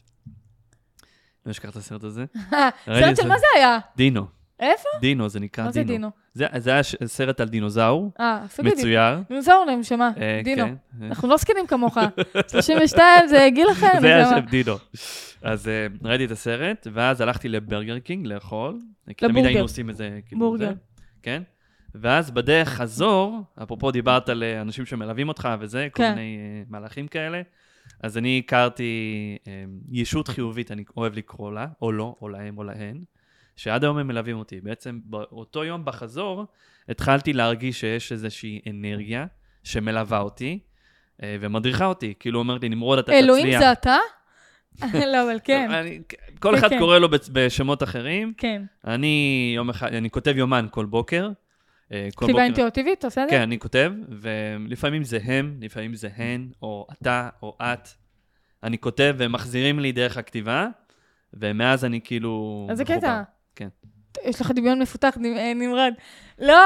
Speaker 3: לא אשכח את הסרט הזה. אה, ראיתי
Speaker 2: אה, סרט של
Speaker 3: את
Speaker 2: מה זה היה?
Speaker 3: דינו.
Speaker 2: איפה?
Speaker 3: דינו, זה נקרא
Speaker 2: מה זה דינו?
Speaker 3: זה, זה היה ש- סרט על דינוזאור,
Speaker 2: אה, אפילו דינו.
Speaker 3: מצויר.
Speaker 2: דינוזאור נשמה,
Speaker 3: אה,
Speaker 2: דינו.
Speaker 3: כן.
Speaker 2: אנחנו לא זקנים כמוך. 32 זה גיל אחר,
Speaker 3: זה היה
Speaker 2: נשמה.
Speaker 3: שם דינו. אז אה, ראיתי את הסרט, ואז הלכתי לברגר קינג לאכול. כי תמיד
Speaker 2: לבורגר.
Speaker 3: היינו עושים את זה, כאילו,
Speaker 2: בורגר.
Speaker 3: זה, כן? ואז בדרך חזור, אפרופו דיברת על אה, אנשים שמלווים אותך וזה, כל
Speaker 2: כן.
Speaker 3: מיני אה, מהלכים כאלה, אז אני הכרתי אה, ישות חיובית, אני אוהב לקרוא לה, או לא, או להם או להן, שעד היום הם מלווים אותי. בעצם באותו יום בחזור, התחלתי להרגיש שיש איזושהי אנרגיה שמלווה אותי אה, ומדריכה אותי. כאילו אומרת לי, נמרוד, אתה תצליח. אה,
Speaker 2: אלוהים זה אתה? לא, אבל כן,
Speaker 3: אני- כל
Speaker 2: כן,
Speaker 3: אחד
Speaker 2: כן.
Speaker 3: קורא לו בצ- בשמות אחרים.
Speaker 2: כן.
Speaker 3: אני יום אחד, אני כותב יומן כל בוקר. אה, כל
Speaker 2: כתיבה
Speaker 3: בוקר-
Speaker 2: אינטואיטיבית, אתה עושה את זה?
Speaker 3: כן, אני כותב, ולפעמים זה הם, לפעמים זה הן, או אתה, או את. אני כותב, והם מחזירים לי דרך הכתיבה, ומאז אני כאילו...
Speaker 2: אז זה
Speaker 3: מחובר.
Speaker 2: קטע.
Speaker 3: כן.
Speaker 2: יש לך דמיון מפותח, נ- אה, נמרד. לא,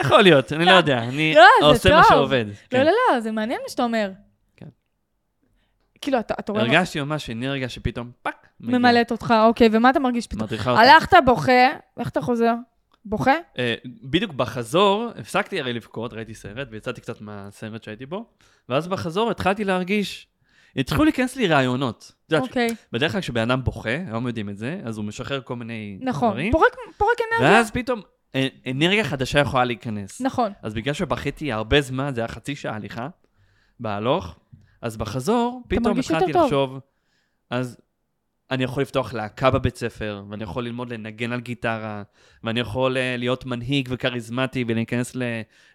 Speaker 3: יכול להיות, אני לא יודע, אני
Speaker 2: לא, זה
Speaker 3: עושה מה
Speaker 2: טוב.
Speaker 3: שעובד.
Speaker 2: לא,
Speaker 3: כן.
Speaker 2: לא, לא, זה מעניין מה שאתה אומר.
Speaker 3: כן.
Speaker 2: כאילו, אתה אתה רואה... מה-
Speaker 3: הרגשתי ממש אנרגיה שפתאום פאק, מגיעה,
Speaker 2: ממלאת אותך, אוקיי, ומה אתה מרגיש פתאום?
Speaker 3: מדריכה אותה.
Speaker 2: הלכת, בוכה, איך אתה חוזר? בוכה?
Speaker 3: אה, בדיוק בחזור, הפסקתי הרי לבכות, ראיתי סרט, ויצאתי קצת מהסרט שהייתי בו, ואז בחזור התחלתי להרגיש, התחילו להיכנס לי רעיונות. את יודעת,
Speaker 2: אוקיי,
Speaker 3: בדרך כלל כשבן אדם בוכה, היום יודעים את זה, אז הוא משחרר כל מיני
Speaker 2: נכון.
Speaker 3: דברים.
Speaker 2: פורק פורק אנרגיה.
Speaker 3: ואז פתאום אה, אנרגיה חדשה יכולה להיכנס.
Speaker 2: נכון.
Speaker 3: אז בגלל שבכיתי הרבה זמן, זה היה חצי שעה הליכה, בהלוך, אז בחזור, פתאום
Speaker 2: מרגיש יותר
Speaker 3: התחלתי
Speaker 2: טוב.
Speaker 3: לחשוב, אז אני יכול לפתוח להקה בבית ספר, ואני יכול ללמוד לנגן על גיטרה, ואני יכול אה, להיות מנהיג וכריזמטי ולהיכנס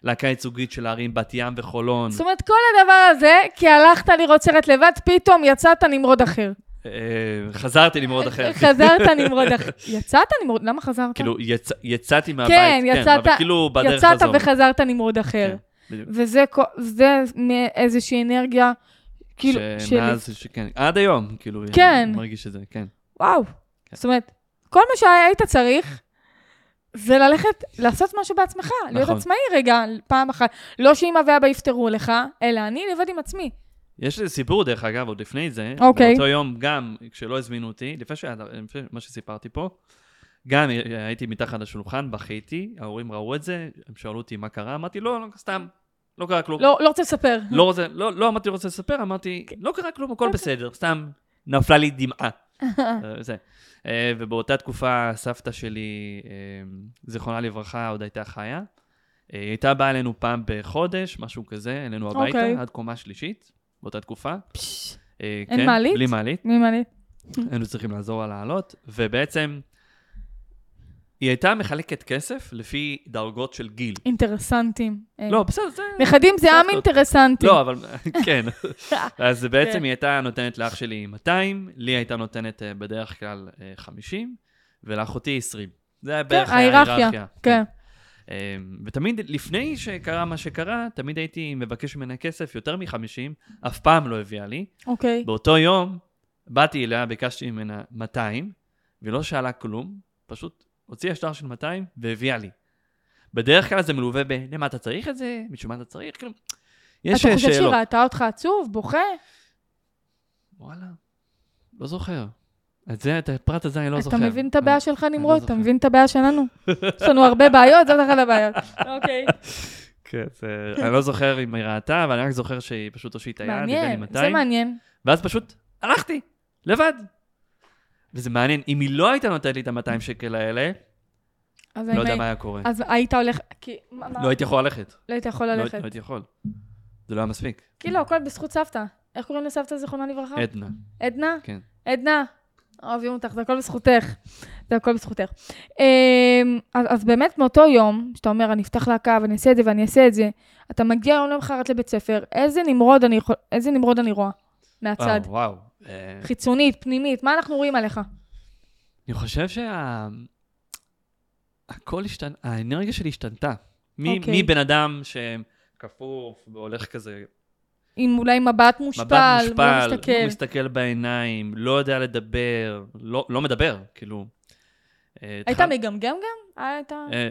Speaker 3: ללהקה ייצוגית של הערים בת ים וחולון.
Speaker 2: זאת אומרת, כל הדבר הזה, כי הלכת לראות סרט לבד, פתאום יצאת נמרוד אחר.
Speaker 3: אה, חזרתי למרוד אחר.
Speaker 2: אה, חזרת נמרוד אחר. יצאת נמרוד, למה חזרת?
Speaker 3: כאילו, יצ... יצאתי מהבית,
Speaker 2: כן, יצאת-
Speaker 3: אבל כאילו בדרך
Speaker 2: יצאת
Speaker 3: חזור.
Speaker 2: וחזרת נמרוד אחר.
Speaker 3: כן, בדיוק.
Speaker 2: וזה כל- זה איזושהי אנרגיה, כאילו, של...
Speaker 3: שמאז, שכן, עד היום, כאילו,
Speaker 2: כן.
Speaker 3: אני מרגיש את זה, כן.
Speaker 2: וואו.
Speaker 3: כן.
Speaker 2: זאת אומרת, כל מה שהיית צריך, זה ללכת, לעשות משהו בעצמך, להיות
Speaker 3: נכון.
Speaker 2: עצמאי רגע, פעם אחת. לא שאמא ואבא יפטרו לך, אלא אני לבד עם עצמי.
Speaker 3: יש לי סיפור, דרך אגב, עוד לפני זה.
Speaker 2: אוקיי.
Speaker 3: באותו יום, גם כשלא הזמינו אותי, לפני שהיה- לפני מה שסיפרתי פה, גם הייתי מתחת לשולחן, בכיתי, ההורים ראו את זה, הם שאלו אותי מה קרה, אמרתי, לא, לא, סתם, לא קרה כלום.
Speaker 2: לא, אוקיי. לא רוצה לספר.
Speaker 3: לא רוצה, לא, לא אמרתי רוצה לספר, אמרתי, לא קרה כלום, הכל בסדר, סתם נפלה לי דמעה. אה, זה. אה, ובאותה תקופה סבתא שלי, אה, זיכרונה לברכה, עוד הייתה חיה. אה, היא הייתה באה אלינו פעם בחודש, משהו כזה, אלינו הביתה,
Speaker 2: אוקיי.
Speaker 3: עד קומה שלישית, באותה תקופה.
Speaker 2: פשש,
Speaker 3: אה,
Speaker 2: אין
Speaker 3: כן,
Speaker 2: מעלית?
Speaker 3: בלי מעלית.
Speaker 2: מי מעניין?
Speaker 3: היינו צריכים לעזור לה לעלות, ובעצם היא הייתה מחלקת כסף לפי דרגות של גיל.
Speaker 2: אינטרסנטים. אה,
Speaker 3: לא, בסדר, זה...
Speaker 2: נכדים זה עם
Speaker 3: סבתות.
Speaker 2: אינטרסנטי.
Speaker 3: לא, אבל כן. אז
Speaker 2: כן.
Speaker 3: בעצם היא הייתה נותנת לאח שלי 200, לי הייתה נותנת אה, בדרך כלל אה, 50, ולאחותי 20. זה היה בערך
Speaker 2: ההיררכיה, כן.
Speaker 3: אה, ותמיד לפני שקרה מה שקרה, תמיד הייתי מבקש ממנה כסף יותר מ-50, אף פעם לא הביאה לי.
Speaker 2: אוקיי.
Speaker 3: באותו יום באתי אליה, ביקשתי ממנה 200, והיא לא שאלה כלום, פשוט הוציאה שטר של 200 והביאה לי. בדרך כלל זה מלווה ב, למה אתה צריך את זה? בשביל מה אתה צריך? כאילו, יש
Speaker 2: אתה
Speaker 3: שאלות.
Speaker 2: חושב שהיא ראתה אותך עצוב, בוכה?
Speaker 3: וואלה, לא זוכר. את זה, את הפרט הזה אני לא זוכר.
Speaker 2: אתה מבין את הבעיה שלך, נמרוד? אתה
Speaker 3: זוכר.
Speaker 2: מבין את הבעיה שלנו? יש לנו הרבה בעיות, זאת אחת הבעיות. אוקיי.
Speaker 3: כן, זה... אני לא זוכר אם היא ראתה, אבל אני רק זוכר שהיא פשוט הושיטה יד, הביאה לי
Speaker 2: מעניין, זה
Speaker 3: 200,
Speaker 2: מעניין.
Speaker 3: ואז פשוט הלכתי, לבד. וזה מעניין, אם היא לא הייתה נותנת לי את ה-200 שקל האלה,
Speaker 2: אז
Speaker 3: לא יודע
Speaker 2: האם-
Speaker 3: מה היה קורה.
Speaker 2: אז היית הולך, כי... מה- מה-
Speaker 3: לא הייתי יכול ללכת.
Speaker 2: לא היית יכול
Speaker 3: לא-
Speaker 2: ללכת.
Speaker 3: לא הייתי יכול. זה לא היה מספיק.
Speaker 2: כאילו, הכל בזכות סבתא. איך קוראים לסבתא, זיכרונה לברכה?
Speaker 3: עדנה,
Speaker 2: עדנה?
Speaker 3: כן.
Speaker 2: עדנה, אוהבים אותך, זה הכל בזכותך. זה הכל בזכותך. אמ, אז, אז באמת מאותו יום, שאתה אומר, אני אפתח להקה ואני אעשה את זה ואני אעשה את זה, אתה מגיע יום למחרת לבית ספר, איזה נמרוד אני, יכול, איזה נמרוד אני רואה מהצד?
Speaker 3: וואו, וואו. אה,
Speaker 2: חיצונית, פנימית, מה אנחנו רואים עליך?
Speaker 3: אני חושב שה... הכל השתנה, האנרגיה שלי השתנתה. מי-
Speaker 2: אוקיי.
Speaker 3: מבן אדם שכפוף והולך כזה,
Speaker 2: עם אולי מבט מושפל,
Speaker 3: מבט
Speaker 2: לא
Speaker 3: מושפל,
Speaker 2: מסתכל.
Speaker 3: הוא מסתכל בעיניים, לא יודע לדבר, לא לא מדבר, כאילו. אה,
Speaker 2: היית
Speaker 3: התחל-
Speaker 2: מגמגם גם? אה, היית...
Speaker 3: אה,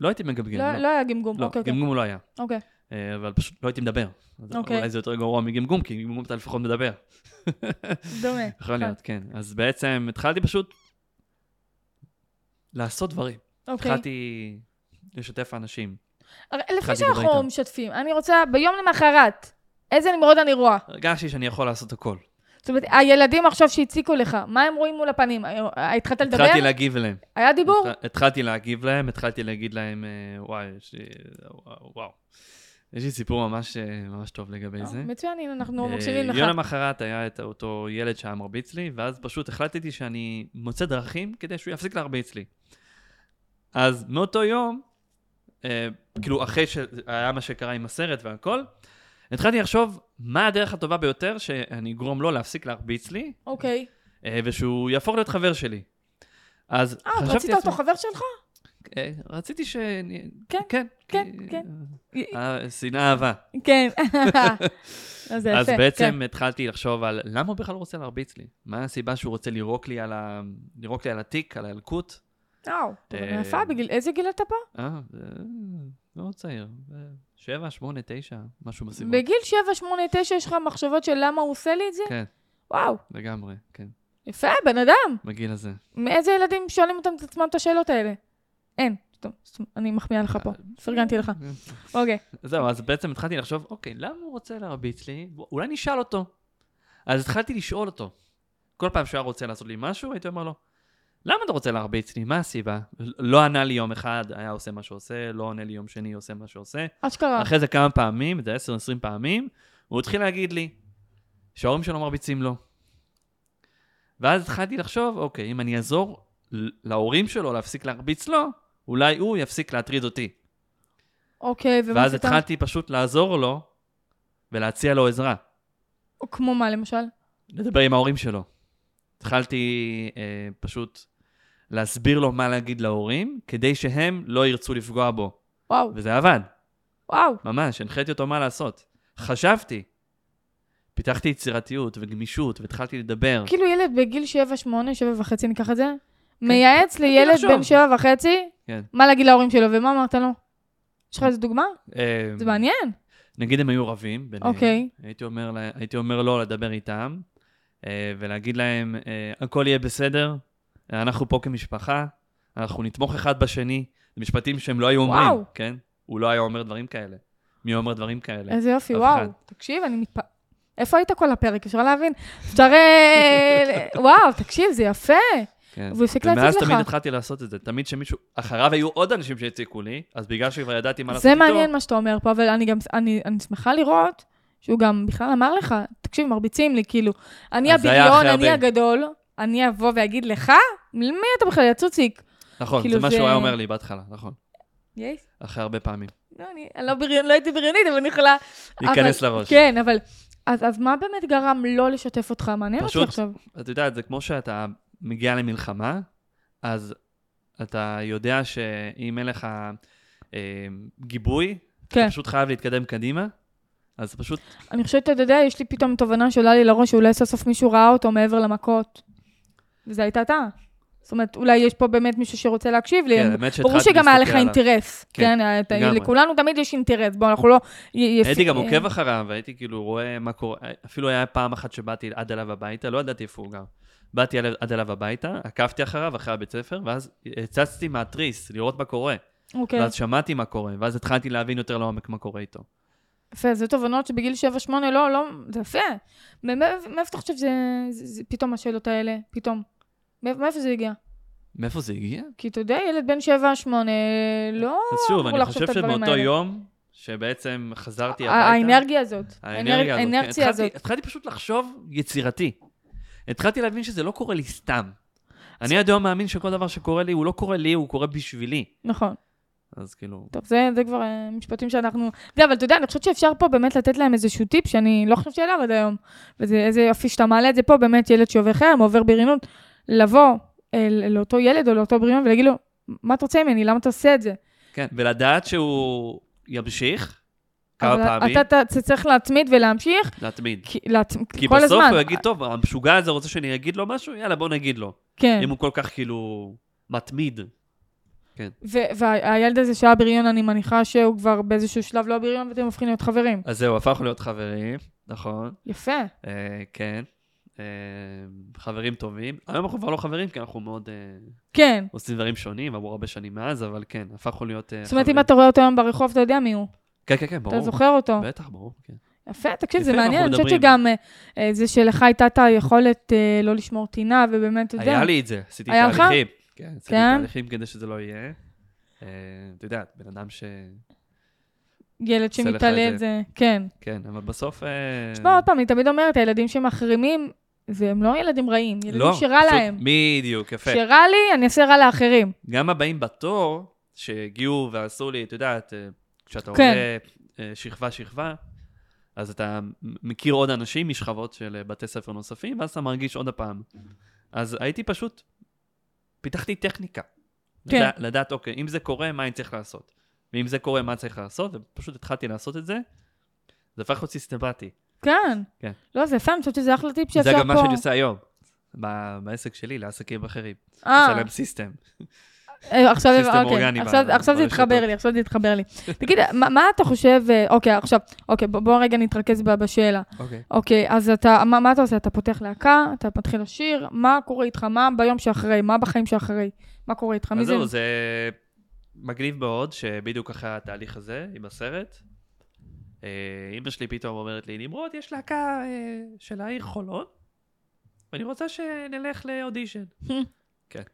Speaker 3: לא הייתי מגמגם.
Speaker 2: לא, לא היה גמגום,
Speaker 3: לא,
Speaker 2: אוקיי, אוקיי.
Speaker 3: גמגום לא היה.
Speaker 2: אוקיי.
Speaker 3: אה, אבל פשוט לא הייתי מדבר. אז
Speaker 2: אוקיי.
Speaker 3: אולי זה יותר גרוע מגמגום, כי גמגום אתה לפחות מדבר.
Speaker 2: דומה.
Speaker 3: יכול להיות, כן. אז בעצם התחלתי פשוט לעשות דברים.
Speaker 2: אוקיי.
Speaker 3: התחלתי לשתף אנשים.
Speaker 2: הרי לפני
Speaker 3: התחלתי לדבר
Speaker 2: שאנחנו
Speaker 3: איתם.
Speaker 2: משתפים, אני רוצה, ביום למחרת, איזה נמרוד אני רואה?
Speaker 3: הרגשתי שאני יכול לעשות הכל.
Speaker 2: זאת אומרת, הילדים עכשיו שהציקו לך, מה הם רואים מול הפנים? אה, התחלת לדבר?
Speaker 3: התחלתי להגיב אליהם.
Speaker 2: היה דיבור?
Speaker 3: התח- התחלתי להגיב להם, התחלתי להגיד להם, אה, וואי, יש לי... וואו. יש לי סיפור ממש, אה, ממש טוב לגבי זה.
Speaker 2: מצוין, הנה, אנחנו
Speaker 3: אה,
Speaker 2: מקשיבים לך.
Speaker 3: יום למחרת היה את אותו ילד שהיה מרביץ לי, ואז פשוט החלטתי שאני מוצא דרכים כדי שהוא יפסיק להרביץ לי. אז מאותו יום, אה, כאילו אחרי שהיה מה שקרה עם הסרט והכל, התחלתי לחשוב מה הדרך הטובה ביותר שאני אגרום לו להפסיק להרביץ לי,
Speaker 2: אוקיי.
Speaker 3: אה, ושהוא יהפוך להיות חבר שלי. אז
Speaker 2: אה,
Speaker 3: חשבתי
Speaker 2: רצית אותו חבר שלך?
Speaker 3: אה, רציתי ש...
Speaker 2: כן,
Speaker 3: כן,
Speaker 2: כן,
Speaker 3: כי-
Speaker 2: כן.
Speaker 3: אה, שנאה אהבה.
Speaker 2: כן. אז זה יפה.
Speaker 3: אז
Speaker 2: כן.
Speaker 3: בעצם התחלתי לחשוב על למה הוא בכלל רוצה להרביץ לי? מה הסיבה שהוא רוצה לירוק לי על ה- לירוק לי על התיק, על הילקוט?
Speaker 2: וואו, אבל
Speaker 3: אה,
Speaker 2: יפה, בגיל- איזה גיל אתה פה?
Speaker 3: אה, זה מאוד צעיר. זה שבע, שמונה, תשע, משהו בסביבות.
Speaker 2: בגיל 7, 8, 9 יש לך מחשבות של למה הוא עושה לי את זה?
Speaker 3: כן,
Speaker 2: וואו,
Speaker 3: לגמרי, כן.
Speaker 2: יפה, בן אדם.
Speaker 3: בגיל הזה.
Speaker 2: מאיזה ילדים שואלים אותם את עצמם את השאלות האלה? אין. סתום, סתום, אני מחמיאה
Speaker 3: אה,
Speaker 2: לך פה, פרגנתי לך. אוקיי,
Speaker 3: זהו, אז בעצם התחלתי לחשוב, אוקיי, למה הוא רוצה להרביץ לי? בוא, אולי נשאל אותו. אז התחלתי לשאול אותו. כל פעם שהוא היה רוצה לעשות לי משהו, הייתי אומר לו, למה אתה רוצה להרביץ לי? מה הסיבה? לא ענה לי יום אחד, היה עושה מה שעושה, לא עונה לי יום שני, עושה מה שעושה.
Speaker 2: אשכרה.
Speaker 3: אחרי זה כמה פעמים, איזה 10-20 פעמים, הוא התחיל להגיד לי שההורים שלו מרביצים לו. ואז התחלתי לחשוב, אוקיי, אם אני אעזור ל- להורים שלו להפסיק להרביץ לו, אולי הוא יפסיק להטריד אותי.
Speaker 2: אוקיי, ומה
Speaker 3: ואז
Speaker 2: עשית?
Speaker 3: התחלתי פשוט לעזור לו ולהציע לו עזרה,
Speaker 2: או כמו מה למשל?
Speaker 3: לדבר עם ההורים שלו. התחלתי אה, פשוט להסביר לו מה להגיד להורים, כדי שהם לא ירצו לפגוע בו.
Speaker 2: וואו,
Speaker 3: וזה עבד.
Speaker 2: וואו.
Speaker 3: ממש, הנחיתי אותו מה לעשות. חשבתי. פיתחתי יצירתיות וגמישות, והתחלתי לדבר.
Speaker 2: כאילו ילד בגיל 7, 8, 7 וחצי ניקח את זה, מייעץ לילד
Speaker 3: לחשוב.
Speaker 2: בן 7 וחצי,
Speaker 3: כן.
Speaker 2: מה להגיד להורים שלו ומה אמרת לו? יש לך איזה דוגמה?
Speaker 3: אה,
Speaker 2: זה מעניין.
Speaker 3: נגיד הם היו רבים ביניהם.
Speaker 2: אוקיי.
Speaker 3: הייתי אומר, לה- הייתי אומר לא לדבר איתם, אה, ולהגיד להם, אה, הכל יהיה בסדר, אה, אנחנו פה כמשפחה, אנחנו נתמוך אחד בשני. זה משפטים שהם לא היו אומרים,
Speaker 2: וואו.
Speaker 3: כן? הוא לא היה אומר דברים כאלה. מי אומר דברים כאלה?
Speaker 2: איזה יופי,
Speaker 3: אף
Speaker 2: וואו.
Speaker 3: אחד.
Speaker 2: תקשיב, אני מתפ... איפה היית כל הפרק? אפשר להבין? אפשר... אה, וואו, תקשיב, זה יפה.
Speaker 3: כן.
Speaker 2: והוא הפסיק להציק לך.
Speaker 3: ומאז תמיד התחלתי לעשות את זה. תמיד שמישהו, אחריו היו עוד אנשים שהציקו לי, אז בגלל שכבר ידעתי מה לעשות
Speaker 2: זה
Speaker 3: איתו,
Speaker 2: מעניין מה שאתה אומר פה, אבל אני גם, אני, אני שמחה לראות שהוא גם בכלל אמר לך, תקשיב, מרביצים לי, כאילו, אני
Speaker 3: אז זה היה
Speaker 2: הבריון,
Speaker 3: אחרי
Speaker 2: אני
Speaker 3: הרבה.
Speaker 2: הגדול, אני אבוא ואגיד לך, מי אתה בכלל, יא צוציק?
Speaker 3: נכון,
Speaker 2: כאילו
Speaker 3: זה מה
Speaker 2: זה-
Speaker 3: שהוא היה אומר לי בהתחלה, נכון.
Speaker 2: יש?
Speaker 3: אחרי הרבה פעמים.
Speaker 2: לא, אני אני לא, בריון, לא הייתי בריונית, אבל אני יכולה...
Speaker 3: להיכנס
Speaker 2: אבל-
Speaker 3: לראש.
Speaker 2: כן, אבל... אז, אז מה באמת גרם לא לשתף אותך? מעניין אותי
Speaker 3: פשוט-
Speaker 2: עכשיו.
Speaker 3: את יודעת, זה כמו שאתה מגיע למלחמה, אז אתה יודע שאם אין לך אה, גיבוי,
Speaker 2: כן.
Speaker 3: אתה פשוט חייב להתקדם קדימה, אז פשוט,
Speaker 2: אני חושבת, אתה יודע, יש לי פתאום תובנה שעולה לי לראש, שאולי סוף סוף מישהו ראה אותו מעבר למכות. וזה הייתה אתה. זאת אומרת, אולי יש פה באמת מישהו שרוצה להקשיב לי.
Speaker 3: כן, האמת שהתחלתי
Speaker 2: ברור שגם היה לך
Speaker 3: להסתכל עליו.
Speaker 2: אינטרס.
Speaker 3: כן,
Speaker 2: כן, אתה-
Speaker 3: לגמרי.
Speaker 2: לכולנו תמיד יש אינטרס. בואו, אנחנו לא... י- יפ-
Speaker 3: הייתי גם
Speaker 2: אה,
Speaker 3: עוקב אחריו, והייתי כאילו רואה מה קורה, אפילו היה פעם אחת שבאתי עד אליו הביתה, לא ידעתי איפה הוא גר. באתי אל- עד אליו הביתה, עקבתי אחריו, אחרי הבית ספר, ואז הצצתי מהתריס לראות מה קורה.
Speaker 2: אוקיי.
Speaker 3: ואז שמעתי מה קורה, ואז התחלתי להבין יותר לעומק מה קורה איתו.
Speaker 2: יפה, זה תובנות שבגיל 7-8 לא, לא... זה יפה. מא- מא- מאיפה אתה חושב שזה... זה- זה- פתאום השאלות האלה? פתאום. מאיפ- מאיפה זה הגיע?
Speaker 3: מאיפה זה הגיע?
Speaker 2: כי אתה יודע, ילד בן 7-8, לא...
Speaker 3: אז שוב,
Speaker 2: אה, אמרו
Speaker 3: אני
Speaker 2: לחשוב
Speaker 3: חושב
Speaker 2: את הדברים
Speaker 3: שבאותו
Speaker 2: האלה.
Speaker 3: יום, שבעצם חזרתי
Speaker 2: ה-
Speaker 3: הביתה...
Speaker 2: האנרגיה הזאת.
Speaker 3: האנרגיה הזאת, כן.
Speaker 2: האנרציה
Speaker 3: התחלתי-
Speaker 2: הזאת.
Speaker 3: התחלתי פשוט לחשוב יצירתי. התחלתי להבין שזה לא קורה לי סתם. אני עד היום מאמין שכל דבר שקורה לי, הוא לא קורה לי, הוא קורה בשבילי.
Speaker 2: נכון.
Speaker 3: אז כאילו...
Speaker 2: טוב, זה, זה כבר אה, משפטים שאנחנו... זה, אבל אתה יודע, אני חושבת שאפשר פה באמת לתת להם איזשהו טיפ שאני לא חושבת שעליו עד היום. וזה איזה יופי שאתה מעלה את זה פה, באמת ילד שעובר חרם, עובר בריונות, לבוא אל, לאותו ילד או לאותו בריון ולהגיד לו, מה אתה רוצה ממני? למה אתה עושה את זה?
Speaker 3: כן, ולדעת שהוא ימשיך כמה
Speaker 2: אבל
Speaker 3: פעמים,
Speaker 2: אתה, אתה, אתה צריך להצמיד ולהמשיך,
Speaker 3: להתמיד.
Speaker 2: כי, להצ...
Speaker 3: כי
Speaker 2: כל
Speaker 3: בסוף
Speaker 2: הזמן.
Speaker 3: הוא יגיד, טוב, המשוגע הזה רוצה שאני אגיד לו משהו? יאללה, בוא נגיד לו.
Speaker 2: כן.
Speaker 3: אם הוא כל כך כאילו מתמיד.
Speaker 2: ו- והילד הזה שהיה בריון, אני מניחה שהוא כבר באיזשהו שלב לא בריון, ואתם הופכים להיות חברים.
Speaker 3: אז זהו, הפכנו להיות חברים, נכון.
Speaker 2: יפה.
Speaker 3: אה, כן. אה, חברים טובים. היום אנחנו כבר לא חברים, כי אנחנו מאוד אה,
Speaker 2: כן.
Speaker 3: עושים דברים שונים, עברו הרבה שנים מאז, אבל כן, הפכנו להיות אה,
Speaker 2: זאת אומרת, אם
Speaker 3: חברים.
Speaker 2: אתה רואה אותו היום ברחוב, אתה יודע מי הוא.
Speaker 3: כן, כן, כן, ברור.
Speaker 2: אתה זוכר אותו.
Speaker 3: בטח, ברור, כן.
Speaker 2: יפה, תקשיב,
Speaker 3: יפה,
Speaker 2: זה מעניין, אני
Speaker 3: אנחנו
Speaker 2: חושבת שגם אה, אה, זה שלך הייתה את היכולת אה, לא לשמור טינה, ובאמת, אתה יודע.
Speaker 3: היה לי את זה, עשיתי
Speaker 2: היה לך?
Speaker 3: תהליכים. כן, עשיתי
Speaker 2: כן?
Speaker 3: תהליכים כדי שזה לא יהיה. אה, את יודעת, בן אדם ש...
Speaker 2: ילד
Speaker 3: עושה לך את
Speaker 2: שמתעלל
Speaker 3: זה.
Speaker 2: זה... כן.
Speaker 3: כן, אבל בסוף... אה,
Speaker 2: תשמע, עוד פעם, אני תמיד אומרת, הילדים שמחרימים, זה הם לא ילדים רעים, ילדים
Speaker 3: לא,
Speaker 2: שרע
Speaker 3: פשוט-
Speaker 2: להם.
Speaker 3: בדיוק, יפה.
Speaker 2: שרע לי, אני אעשה רע לאחרים.
Speaker 3: גם הבאים בתור, שהגיעו ועשו לי, את יודעת, אה, כשאתה
Speaker 2: כן.
Speaker 3: עולה אה, שכבה-שכבה, אז אתה מכיר עוד אנשים משכבות של אה, בתי ספר נוספים, ואז אתה מרגיש עוד הפעם. אז הייתי פשוט, פיתחתי טכניקה.
Speaker 2: כן.
Speaker 3: לדע, לדעת, אוקיי, אם זה קורה, מה אני צריך לעשות? ואם זה קורה, מה צריך לעשות? ופשוט התחלתי לעשות את זה. זה הפך להיות סיסטמטי.
Speaker 2: כן.
Speaker 3: כן.
Speaker 2: לא, זה יפה, אני חושבת שזה אחלה טיפ
Speaker 3: זה
Speaker 2: שאפשר פה.
Speaker 3: גם מה שאני עושה היום, ב- בעסק שלי, לעסקים אחרים. עושה
Speaker 2: אה,
Speaker 3: להם סיסטם.
Speaker 2: אה, עכשיו,
Speaker 3: סיסטם
Speaker 2: אוקיי,
Speaker 3: אורגני לא
Speaker 2: עכשיו-
Speaker 3: ב-
Speaker 2: עכשיו זה
Speaker 3: ברשתות.
Speaker 2: התחבר לי, עכשיו זה התחבר לי. תגיד, מה מה אתה חושב, אה, אוקיי, עכשיו, אוקיי, בוא- בוא רגע נתרכז ב- בשאלה.
Speaker 3: אוקיי.
Speaker 2: אוקיי, אז אתה, מה, מה אתה עושה? אתה פותח להקה, אתה מתחיל לשיר, מה קורה איתך? מה ביום שאחרי? מה בחיים שאחרי? מה קורה איתך? מי
Speaker 3: אז
Speaker 2: זה?
Speaker 3: זהו, זה מגניב מאוד, שבדיוק אחרי התהליך הזה, עם הסרט, אה, אימא שלי פתאום אומרת לי, נמרוד, יש להקה אה, של העיר חולון, ואני רוצה שנלך לאודישן.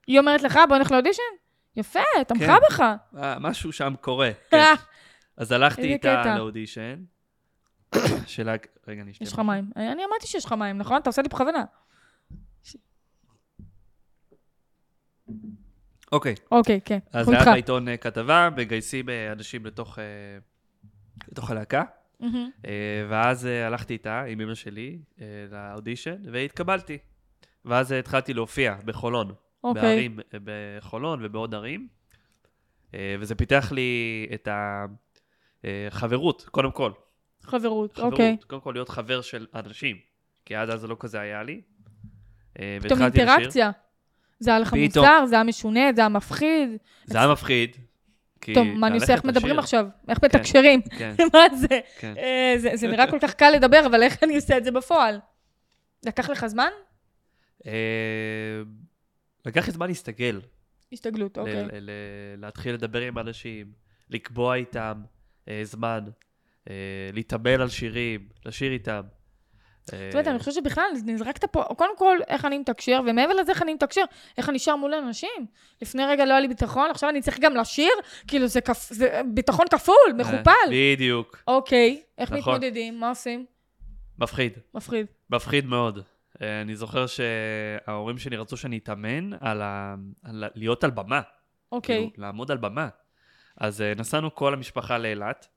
Speaker 2: היא אומרת לך, בוא נלך לאודישן? יפה, תמכה
Speaker 3: כן.
Speaker 2: בך.
Speaker 3: אה, משהו שם קורה. כן. אז הלכתי
Speaker 2: איזה
Speaker 3: איתה
Speaker 2: קטע.
Speaker 3: לאודישן. של ה... רגע, אני אשתה.
Speaker 2: יש לך מים. אה, אני אמרתי שיש לך מים, נכון? אתה עושה לי בכוונה.
Speaker 3: אוקיי.
Speaker 2: אוקיי, כן.
Speaker 3: אז
Speaker 2: אנחנו
Speaker 3: היה
Speaker 2: איתך.
Speaker 3: בעיתון אה, כתבה, מגייסים אה, אנשים לתוך אה, לתוך הלהקה.
Speaker 2: מהמם.
Speaker 3: אה, ואז אה, הלכתי איתה, עם אמא שלי, אה, לאודישן, והתקבלתי. ואז אה, התחלתי להופיע בחולון.
Speaker 2: אוקיי.
Speaker 3: בערים, אה, בחולון ובעוד ערים. אה, וזה פיתח לי את החברות, קודם כל.
Speaker 2: חברות,
Speaker 3: חברות.
Speaker 2: אוקיי.
Speaker 3: קודם כל להיות חבר של אנשים, כי עד אז זה לא כזה היה לי. אה,
Speaker 2: פתאום
Speaker 3: והתחלתי לשיר.
Speaker 2: אינטראקציה. זה היה לך
Speaker 3: פתאום.
Speaker 2: מוזר, זה היה משונה, זה היה מפחיד.
Speaker 3: זה היה מפחיד. כי
Speaker 2: טוב, מה אני עושה? איך
Speaker 3: ללכת
Speaker 2: מדברים
Speaker 3: לשיר-
Speaker 2: עכשיו? איך מתקשרים?
Speaker 3: כן,
Speaker 2: מה זה?
Speaker 3: כן.
Speaker 2: אה, זה- זה נראה כל כך קל לדבר, אבל איך אני עושה את זה בפועל? לקח לך זמן?
Speaker 3: אה, לקח לי זמן להסתגל.
Speaker 2: הסתגלות,
Speaker 3: ל-
Speaker 2: אוקיי.
Speaker 3: ל- ל- להתחיל לדבר עם אנשים, לקבוע איתם אה, זמן, אה, להתאמן על שירים, לשיר איתם. אה,
Speaker 2: זאת אומרת, אני חושבת שבכלל נזרקת פה, קודם כל, איך אני מתקשר, ומעבר לזה איך אני מתקשר, איך אני שר מול אנשים. לפני רגע לא היה לי ביטחון, עכשיו אני צריך גם לשיר? כאילו, זה כפ- זה ביטחון כפול, מכופל.
Speaker 3: אה, בדיוק,
Speaker 2: אוקיי, איך
Speaker 3: נכון.
Speaker 2: מתמודדים? מה עושים?
Speaker 3: מפחיד,
Speaker 2: מפחיד.
Speaker 3: מפחיד מאוד. אה, אני זוכר שההורים שלי רצו שאני אתאמן על ה- על ה- להיות על במה,
Speaker 2: אוקיי,
Speaker 3: כאילו, לעמוד על במה. אז אה, נסענו כל המשפחה לאילת,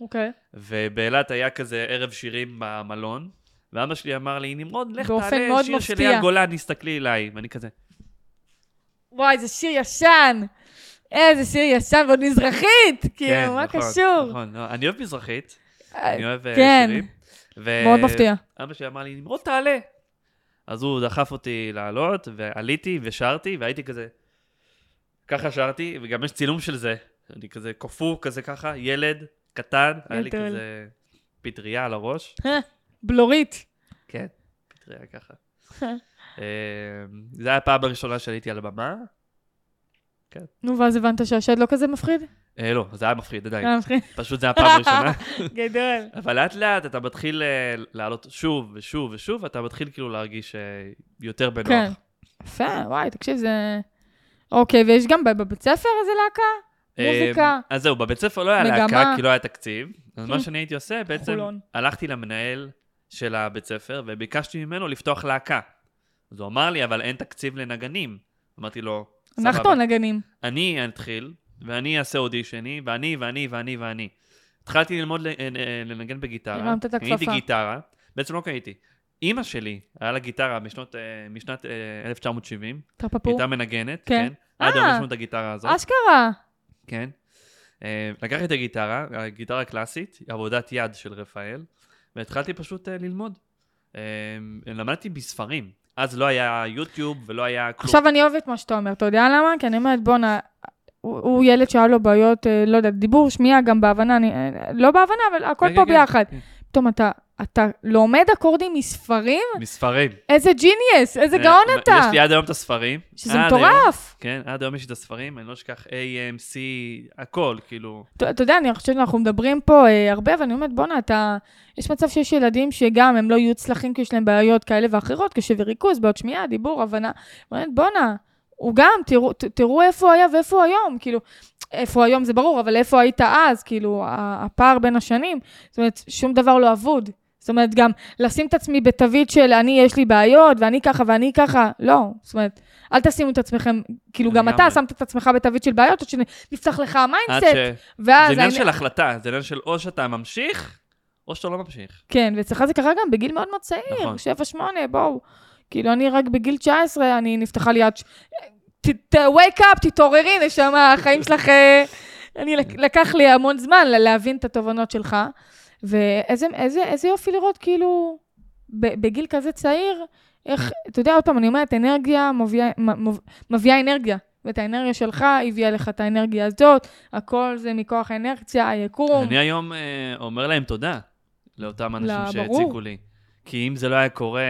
Speaker 2: אוקיי.
Speaker 3: ובאילת היה כזה ערב שירים במלון, ואבא שלי אמר לי, נמרוד, לך
Speaker 2: באופן
Speaker 3: תעלה
Speaker 2: מאוד
Speaker 3: שיר של
Speaker 2: מפתיע.
Speaker 3: אייל גולן, תסתכלי אליי. ואני כזה,
Speaker 2: וואי, זה שיר ישן. איזה שיר ישן, ועוד מזרחית!
Speaker 3: כן,
Speaker 2: כאילו, מה
Speaker 3: נכון,
Speaker 2: קשור?
Speaker 3: נכון, לא, אני אוהב מזרחית,
Speaker 2: אה,
Speaker 3: אני אוהב אה,
Speaker 2: כן.
Speaker 3: שירים. ו-
Speaker 2: מאוד מפתיע.
Speaker 3: אבא שלי אמר לי, נמרוד תעלה. אז הוא דחף אותי לעלות, ועליתי ושרתי, והייתי כזה, ככה שרתי, וגם יש צילום של זה. אני כזה קפוא, כזה ככה, ילד, קטן, היה לי
Speaker 2: גדול.
Speaker 3: כזה פטריה על הראש.
Speaker 2: אה, בלורית.
Speaker 3: כן, פטריה ככה. אה, זה היה הפעם הראשונה שעליתי על הבמה.
Speaker 2: נו, ואז הבנת שהשד לא כזה מפחיד?
Speaker 3: אה, לא, זה היה מפחיד עדיין.
Speaker 2: היה מפחיד.
Speaker 3: פשוט זה היה הפעם הראשונה.
Speaker 2: גדול.
Speaker 3: אבל לאט לאט אתה מתחיל אה, לעלות שוב ושוב ושוב, ואתה מתחיל כאילו להרגיש אה, יותר בנוח.
Speaker 2: כן. יפה, וואי, תקשיב, זה... אוקיי, ויש גם ב- בבית ספר איזה להקה?
Speaker 3: אה,
Speaker 2: מוזיקה.
Speaker 3: אז זהו, בבית ספר לא היה
Speaker 2: מגמה. כן.
Speaker 3: להקה, כי לא היה תקציב. אז מה שאני הייתי עושה, בעצם
Speaker 2: חולון.
Speaker 3: הלכתי למנהל של הבית ספר, וביקשתי ממנו לפתוח להקה. אז הוא אמר לי, אבל אין תקציב לנגנים. אמרתי לו,
Speaker 2: אנחנו
Speaker 3: סבבה.
Speaker 2: הנגנים.
Speaker 3: אני אתחיל, ואני אעשה אודישני, ואני, ואני, ואני, ואני. התחלתי ללמוד ל- אה, לנגן בגיטרה.
Speaker 2: הרמת את הכפפה.
Speaker 3: קניתי גיטרה, בעצם לא קניתי. אימא שלי, היה לה גיטרה בשנות, אה, משנת אה, 1970, היא
Speaker 2: טרפפור.
Speaker 3: הייתה מנגנת,
Speaker 2: כן.
Speaker 3: כן. עד היום
Speaker 2: אה.
Speaker 3: יש לנו את הגיטרה הזאת,
Speaker 2: אשכרה.
Speaker 3: כן. אה, לקחתי את הגיטרה, הגיטרה הקלאסית, עבודת יד של רפאל, והתחלתי פשוט אה, ללמוד. אה, למדתי בספרים. אז לא היה יוטיוב ולא היה כלום.
Speaker 2: עכשיו אני אוהבת מה שאתה אומר, אתה יודע למה? כי אני אומרת, בואנה, הוא- הוא ילד שהיה לו בעיות, אה, לא יודעת, דיבור, שמיעה, גם בהבנה, אני- אה, לא בהבנה, אבל הכל
Speaker 3: כן,
Speaker 2: פה
Speaker 3: כן, כן.
Speaker 2: ביחד.
Speaker 3: כן.
Speaker 2: פתאום אתה... אתה לומד אקורדים מספרים?
Speaker 3: מספרים.
Speaker 2: איזה ג'יניאס, איזה
Speaker 3: אה,
Speaker 2: גאון אתה.
Speaker 3: יש לי עד היום את הספרים. אה,
Speaker 2: שזה
Speaker 3: עד היום.
Speaker 2: מטורף.
Speaker 3: כן, עד היום יש את הספרים, אני לא אשכח AMC, הכל, כאילו.
Speaker 2: אתה אתה יודע, אני חושבת שאנחנו מדברים פה אה, הרבה, ואני אומרת, בואנה, אתה... יש מצב שיש ילדים שגם הם לא יהיו צלחים כי יש להם בעיות כאלה ואחרות, קשב וריכוז, בעיות שמיעה, דיבור, הבנה. אני אומרת, בואנה, הוא גם, תראו, ת- תראו איפה הוא היה ואיפה הוא היום. כאילו, איפה היום זה ברור, אבל איפה היית אז, כאילו, ה- הפער בין השנים, זאת אומרת, שום דבר לא אבוד. זאת אומרת, גם לשים את עצמי בתווית של אני, יש לי בעיות, ואני ככה ואני ככה, לא. זאת אומרת, אל תשימו את עצמכם, כאילו, גם אתה
Speaker 3: לגמרי.
Speaker 2: שמת את עצמך בתווית של בעיות, עד שנפתח לך
Speaker 3: עד
Speaker 2: המיינדסט,
Speaker 3: ש...
Speaker 2: ואז...
Speaker 3: זה עניין
Speaker 2: אני-
Speaker 3: של החלטה, זה עניין של או שאתה ממשיך, או שאתה לא ממשיך.
Speaker 2: כן, ואצלך זה קרה גם בגיל מאוד מאוד צעיר,
Speaker 3: נכון.
Speaker 2: שבע, שמונה, בואו. כאילו, אני רק בגיל 19, אני נפתחה לי עד... ש- ת- ת- wake up, תתעוררי, נשמה, החיים שלך... אה, אני,
Speaker 3: כן.
Speaker 2: לק- לקח לי המון זמן ל- להבין את התובנות שלך, ואיזה איזה, איזה יופי לראות, כאילו, ב- בגיל כזה צעיר, איך, אתה יודע, עוד פעם, אני אומרת, אנרגיה מביאה, מ- מוב- מביאה אנרגיה, ואת האנרגיה שלך הביאה לך את האנרגיה הזאת, הכל זה מכוח האנרציה, היקום.
Speaker 3: אני היום אה, אומר להם תודה, לאותם
Speaker 2: לא,
Speaker 3: אנשים
Speaker 2: ברור.
Speaker 3: שהציקו לי. כי אם זה לא היה קורה...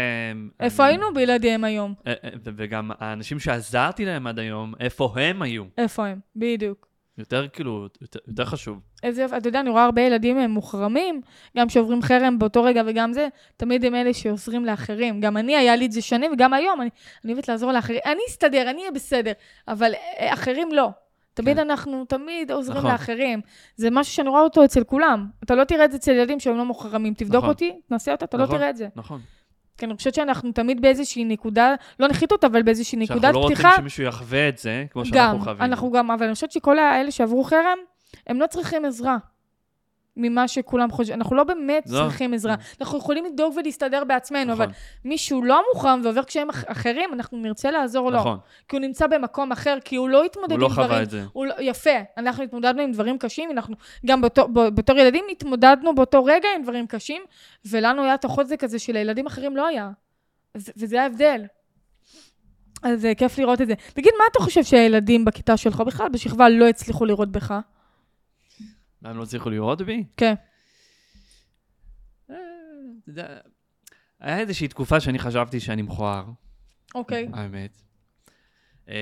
Speaker 2: איפה
Speaker 3: אני-
Speaker 2: היינו בלעדיהם היום?
Speaker 3: אה, אה, ו- וגם האנשים שעזרתי להם עד היום, איפה הם היו?
Speaker 2: איפה הם? בדיוק.
Speaker 3: יותר כאילו, יותר- יותר חשוב.
Speaker 2: איזה יופי, אתה יודע, אני רואה הרבה ילדים הם מוחרמים, גם שעוברים חרם באותו רגע וגם זה, תמיד הם אלה שעוזרים לאחרים. גם אני, היה לי את זה שנים, וגם היום, אני, אני אוהבת לעזור לאחרים. אני אסתדר, אני אהיה בסדר, אבל אה, אחרים לא. תמיד
Speaker 3: כן.
Speaker 2: אנחנו, תמיד עוזרים
Speaker 3: נכון.
Speaker 2: לאחרים. זה משהו שאני רואה אותו אצל כולם. אתה לא תראה את זה אצל ילדים שהם לא מוחרמים. תבדוק
Speaker 3: נכון.
Speaker 2: אותי, תנסה אותה, אתה
Speaker 3: נכון.
Speaker 2: לא תראה את זה.
Speaker 3: נכון.
Speaker 2: כי אני חושבת שאנחנו תמיד באיזושהי נקודה, לא נחיתות, אבל באיזושהי נקודת פתיחה.
Speaker 3: שאנחנו לא רוצים שמישהו יחווה את זה, כמו שאנחנו
Speaker 2: גם,
Speaker 3: חווים.
Speaker 2: אנחנו גם, אבל אני חושבת שכל האלה שעברו חרם, הם לא צריכים עזרה. ממה שכולם חושבים, אנחנו לא באמת
Speaker 3: לא.
Speaker 2: צריכים עזרה. אנחנו יכולים לדאוג ולהסתדר בעצמנו, כן,
Speaker 3: נכון.
Speaker 2: אבל מישהו לא מוחרם ועובר קשיים אח- אחרים, אנחנו נרצה לעזור לו.
Speaker 3: נכון,
Speaker 2: כי הוא נמצא במקום אחר, כי הוא לא התמודד
Speaker 3: הוא
Speaker 2: עם
Speaker 3: לא
Speaker 2: לא, דברים.
Speaker 3: חווה את זה.
Speaker 2: הוא לא, יפה, אנחנו התמודדנו עם דברים קשים, אנחנו גם בתור, ב- בתור ילדים התמודדנו באותו רגע עם דברים קשים, ולנו היה את החוזק הזה שלילדים אחרים לא היה. אז, וזה ההבדל. אז אה, כיף לראות את זה. תגיד, מה אתה חושב שהילדים בכיתה שלך, בכלל בשכבה, לא הצליחו לראות בך?
Speaker 3: הם לא הצליחו לראות בי?
Speaker 2: כן.
Speaker 3: אה, אתה יודע, היה איזושהי תקופה שאני חשבתי שאני מכוער,
Speaker 2: אוקיי.
Speaker 3: האמת. אמ,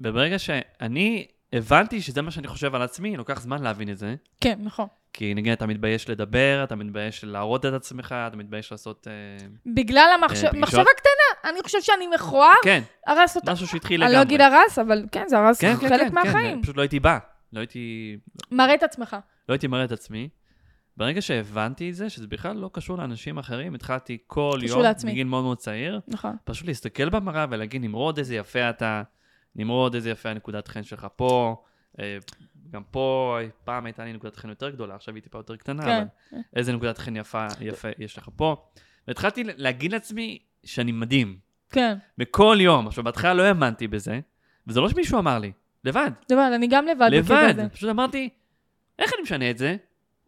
Speaker 3: וברגע שאני הבנתי שזה מה שאני חושב על עצמי, לוקח זמן להבין את זה.
Speaker 2: כן, נכון.
Speaker 3: כי נגיד, אתה מתבייש לדבר, אתה מתבייש להראות את עצמך, אתה מתבייש לעשות... אה,
Speaker 2: בגלל המחשבה
Speaker 3: פגישות?
Speaker 2: מחשבה קטנה, אני חושב שאני מכוער,
Speaker 3: כן,
Speaker 2: הרס אותה.
Speaker 3: משהו שהתחיל
Speaker 2: אני
Speaker 3: לגמרי.
Speaker 2: לא אגיד הרס, אבל כן, זה הרס
Speaker 3: כן, כן,
Speaker 2: חלק
Speaker 3: כן,
Speaker 2: מהחיים.
Speaker 3: כן, פשוט לא הייתי בא. לא הייתי
Speaker 2: מראה את עצמך.
Speaker 3: לא הייתי מראה את עצמי. ברגע שהבנתי את זה, שזה בכלל לא קשור לאנשים אחרים, התחלתי כל
Speaker 2: קשור
Speaker 3: יום,
Speaker 2: לעצמי.
Speaker 3: מגיל מאוד מאוד צעיר,
Speaker 2: נכון.
Speaker 3: פשוט להסתכל במראה ולהגיד, נמרוד, איזה יפה אתה, נמרוד, איזה יפה הנקודת חן שלך פה, אה, גם פה, אי, פעם הייתה לי נקודת חן יותר גדולה, עכשיו היא טיפה יותר קטנה,
Speaker 2: כן.
Speaker 3: כן. אבל איזה נקודת חן יפה, יפה יש לך פה. והתחלתי להגיד לעצמי שאני מדהים,
Speaker 2: כן.
Speaker 3: בכל יום. עכשיו, בהתחלה לא האמנתי בזה, וזה לא שמישהו אמר לי, לבד.
Speaker 2: לבד, לא, אני גם לבד. בקטע
Speaker 3: לבד.
Speaker 2: הזה.
Speaker 3: פשוט אמרתי, איך אני משנה את זה?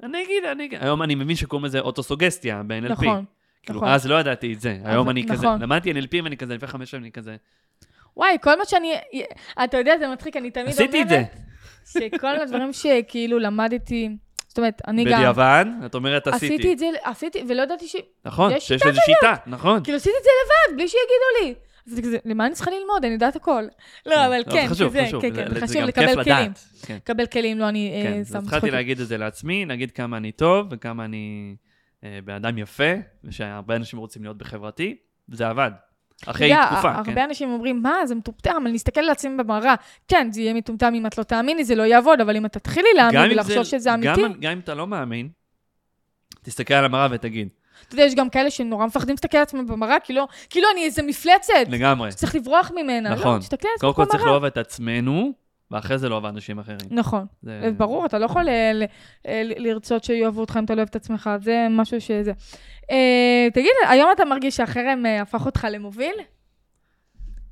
Speaker 3: אני אגיד, אני אגיד. היום אני מבין שקוראים לזה אוטוסוגסטיה ב-NLP.
Speaker 2: נכון.
Speaker 3: כאילו,
Speaker 2: נכון.
Speaker 3: אז לא ידעתי את זה. היום אני כזה,
Speaker 2: נכון.
Speaker 3: למדתי NLP ואני כזה, לפני חמש שנים אני כזה.
Speaker 2: וואי, כל מה שאני... אתה יודע, זה מצחיק, אני תמיד
Speaker 3: עשיתי את זה.
Speaker 2: אומרת שכל הדברים שכאילו למדתי, זאת אומרת, אני גם...
Speaker 3: בדיעבד, את אומרת
Speaker 2: עשיתי
Speaker 3: עשיתי.
Speaker 2: את זה, עשיתי, ולא ידעתי ש...
Speaker 3: נכון,
Speaker 2: יש
Speaker 3: שיש לזה שיטה, נכון.
Speaker 2: כאילו, עשיתי את זה לבד, בלי שיגידו לי. אז זה כזה, למה אני צריכה ללמוד? אני יודעת הכל. לא, אבל
Speaker 3: זה
Speaker 2: כן,
Speaker 3: חשוב,
Speaker 2: כזה,
Speaker 3: חשוב.
Speaker 2: כן,
Speaker 3: זה-
Speaker 2: כן,
Speaker 3: זה
Speaker 2: חשוב
Speaker 3: גם
Speaker 2: לקבל
Speaker 3: כיף לדעת.
Speaker 2: כלים.
Speaker 3: כן,
Speaker 2: לקבל כלים, לא אני
Speaker 3: כן.
Speaker 2: אה,
Speaker 3: אז
Speaker 2: שם
Speaker 3: התחלתי
Speaker 2: צחוקים.
Speaker 3: להגיד את זה לעצמי, להגיד כמה אני טוב וכמה אני אה, בן אדם יפה, ושהרבה אנשים רוצים להיות בחברתי, וזה עבד. אחרי
Speaker 2: אתה יודע,
Speaker 3: תקופה, כן.
Speaker 2: הרבה אנשים אומרים, מה, זה מטומטם, אני אסתכל על עצמי במראה. כן, זה יהיה מטומטם אם את לא תאמיני, זה לא יעבוד, אבל אם את תתחילי
Speaker 3: גם
Speaker 2: להאמין
Speaker 3: אם זה-
Speaker 2: ולחשוב שזה
Speaker 3: גם-
Speaker 2: אמיתי...
Speaker 3: גם אם אתה לא מאמין, תסתכל על המראה ותגיד,
Speaker 2: אתה יודע, יש גם כאלה שנורא מפחדים להסתכל על עצמם במראה, כאילו, כאילו אני איזה מפלצת,
Speaker 3: לגמרי.
Speaker 2: שצריך לברוח ממנה. לא,
Speaker 3: נכון.
Speaker 2: תסתכל על עצמך
Speaker 3: קודם כל צריך
Speaker 2: במראה.
Speaker 3: לאהוב את עצמנו, ואחרי זה לאהוב אנשים אחרים.
Speaker 2: נכון,
Speaker 3: זה-
Speaker 2: ברור, אתה לא יכול אה, ל- אה, ל- לרצות שיאהבו אותך אם אתה לא אוהב את עצמך, זה משהו שזה. אה, תגיד, היום אתה מרגיש שהחרם אה, הפך אותך למוביל?